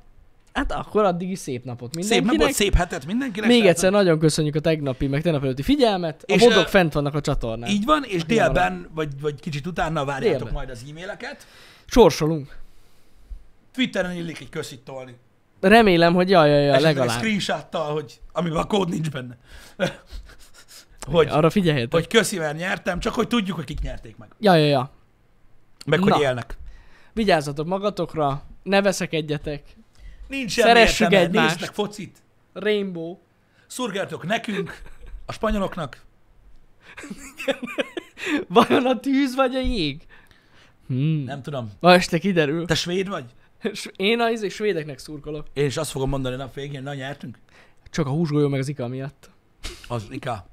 Hát akkor addigi szép napot Szép mindenkinek. napot, szép hetet mindenkinek. Még srácok. egyszer nagyon köszönjük a tegnapi, meg tegnap előtti figyelmet. A És, modok ö, fent vannak a csatornán. Így van, és Aki marad. délben, vagy, vagy kicsit utána várjátok Délben. majd az e-maileket. Sorsolunk. Twitteren illik egy köszit tolni. Remélem, hogy jaj, jaj, jaj, Esetleg legalább. screenshottal, hogy, amiben a kód nincs benne. hogy, Arra figyeljetek. hogy köszi, mert nyertem, csak hogy tudjuk, hogy kik nyerték meg. Ja, ja, ja. Meg, hogy Na. élnek. Vigyázzatok magatokra, ne veszekedjetek. Nincs semmi Szeressük értelme, egymást. néznek focit. Rainbow. Szurgáltok nekünk, a spanyoloknak. Vajon a tűz vagy a jég? Hmm. Nem tudom. Ma este kiderül. Te svéd vagy? S- Én az és svédeknek szurkolok. Én is azt fogom mondani a nap végén, na nyertünk. Csak a húsgolyó meg az ika miatt. Az Ika.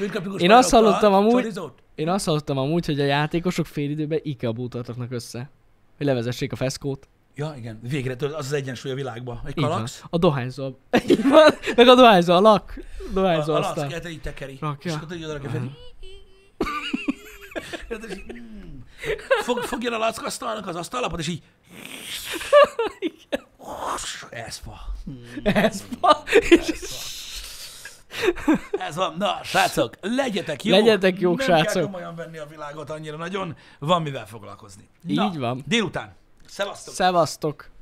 Én Én azt hallottam amúgy- Én azt hallottam amúgy, hogy a játékosok fél időben IKEA bútort raknak össze. Hogy levezessék a feszkót. Ja, igen. Végre tudod, az az egyensúly a világban. Egy Így van. kalax. A dohányzó. a- Így van. Meg a dohányzó, a lak. A, Dohányzó a lack aztán. kettő így tekeri. Rakja. És akkor tudod, hogy oda rakja fel. Érted, és így, mm. Fog, fogja a lack asztalnak az asztalapot, és így... Ez fa. Ez van. Ez van. Na, srácok, legyetek jók. Legyetek jók, Nem srácok. kell komolyan venni a világot annyira nagyon. Van mivel foglalkozni. Így van. Délután. Szevasztok. Szevasztok.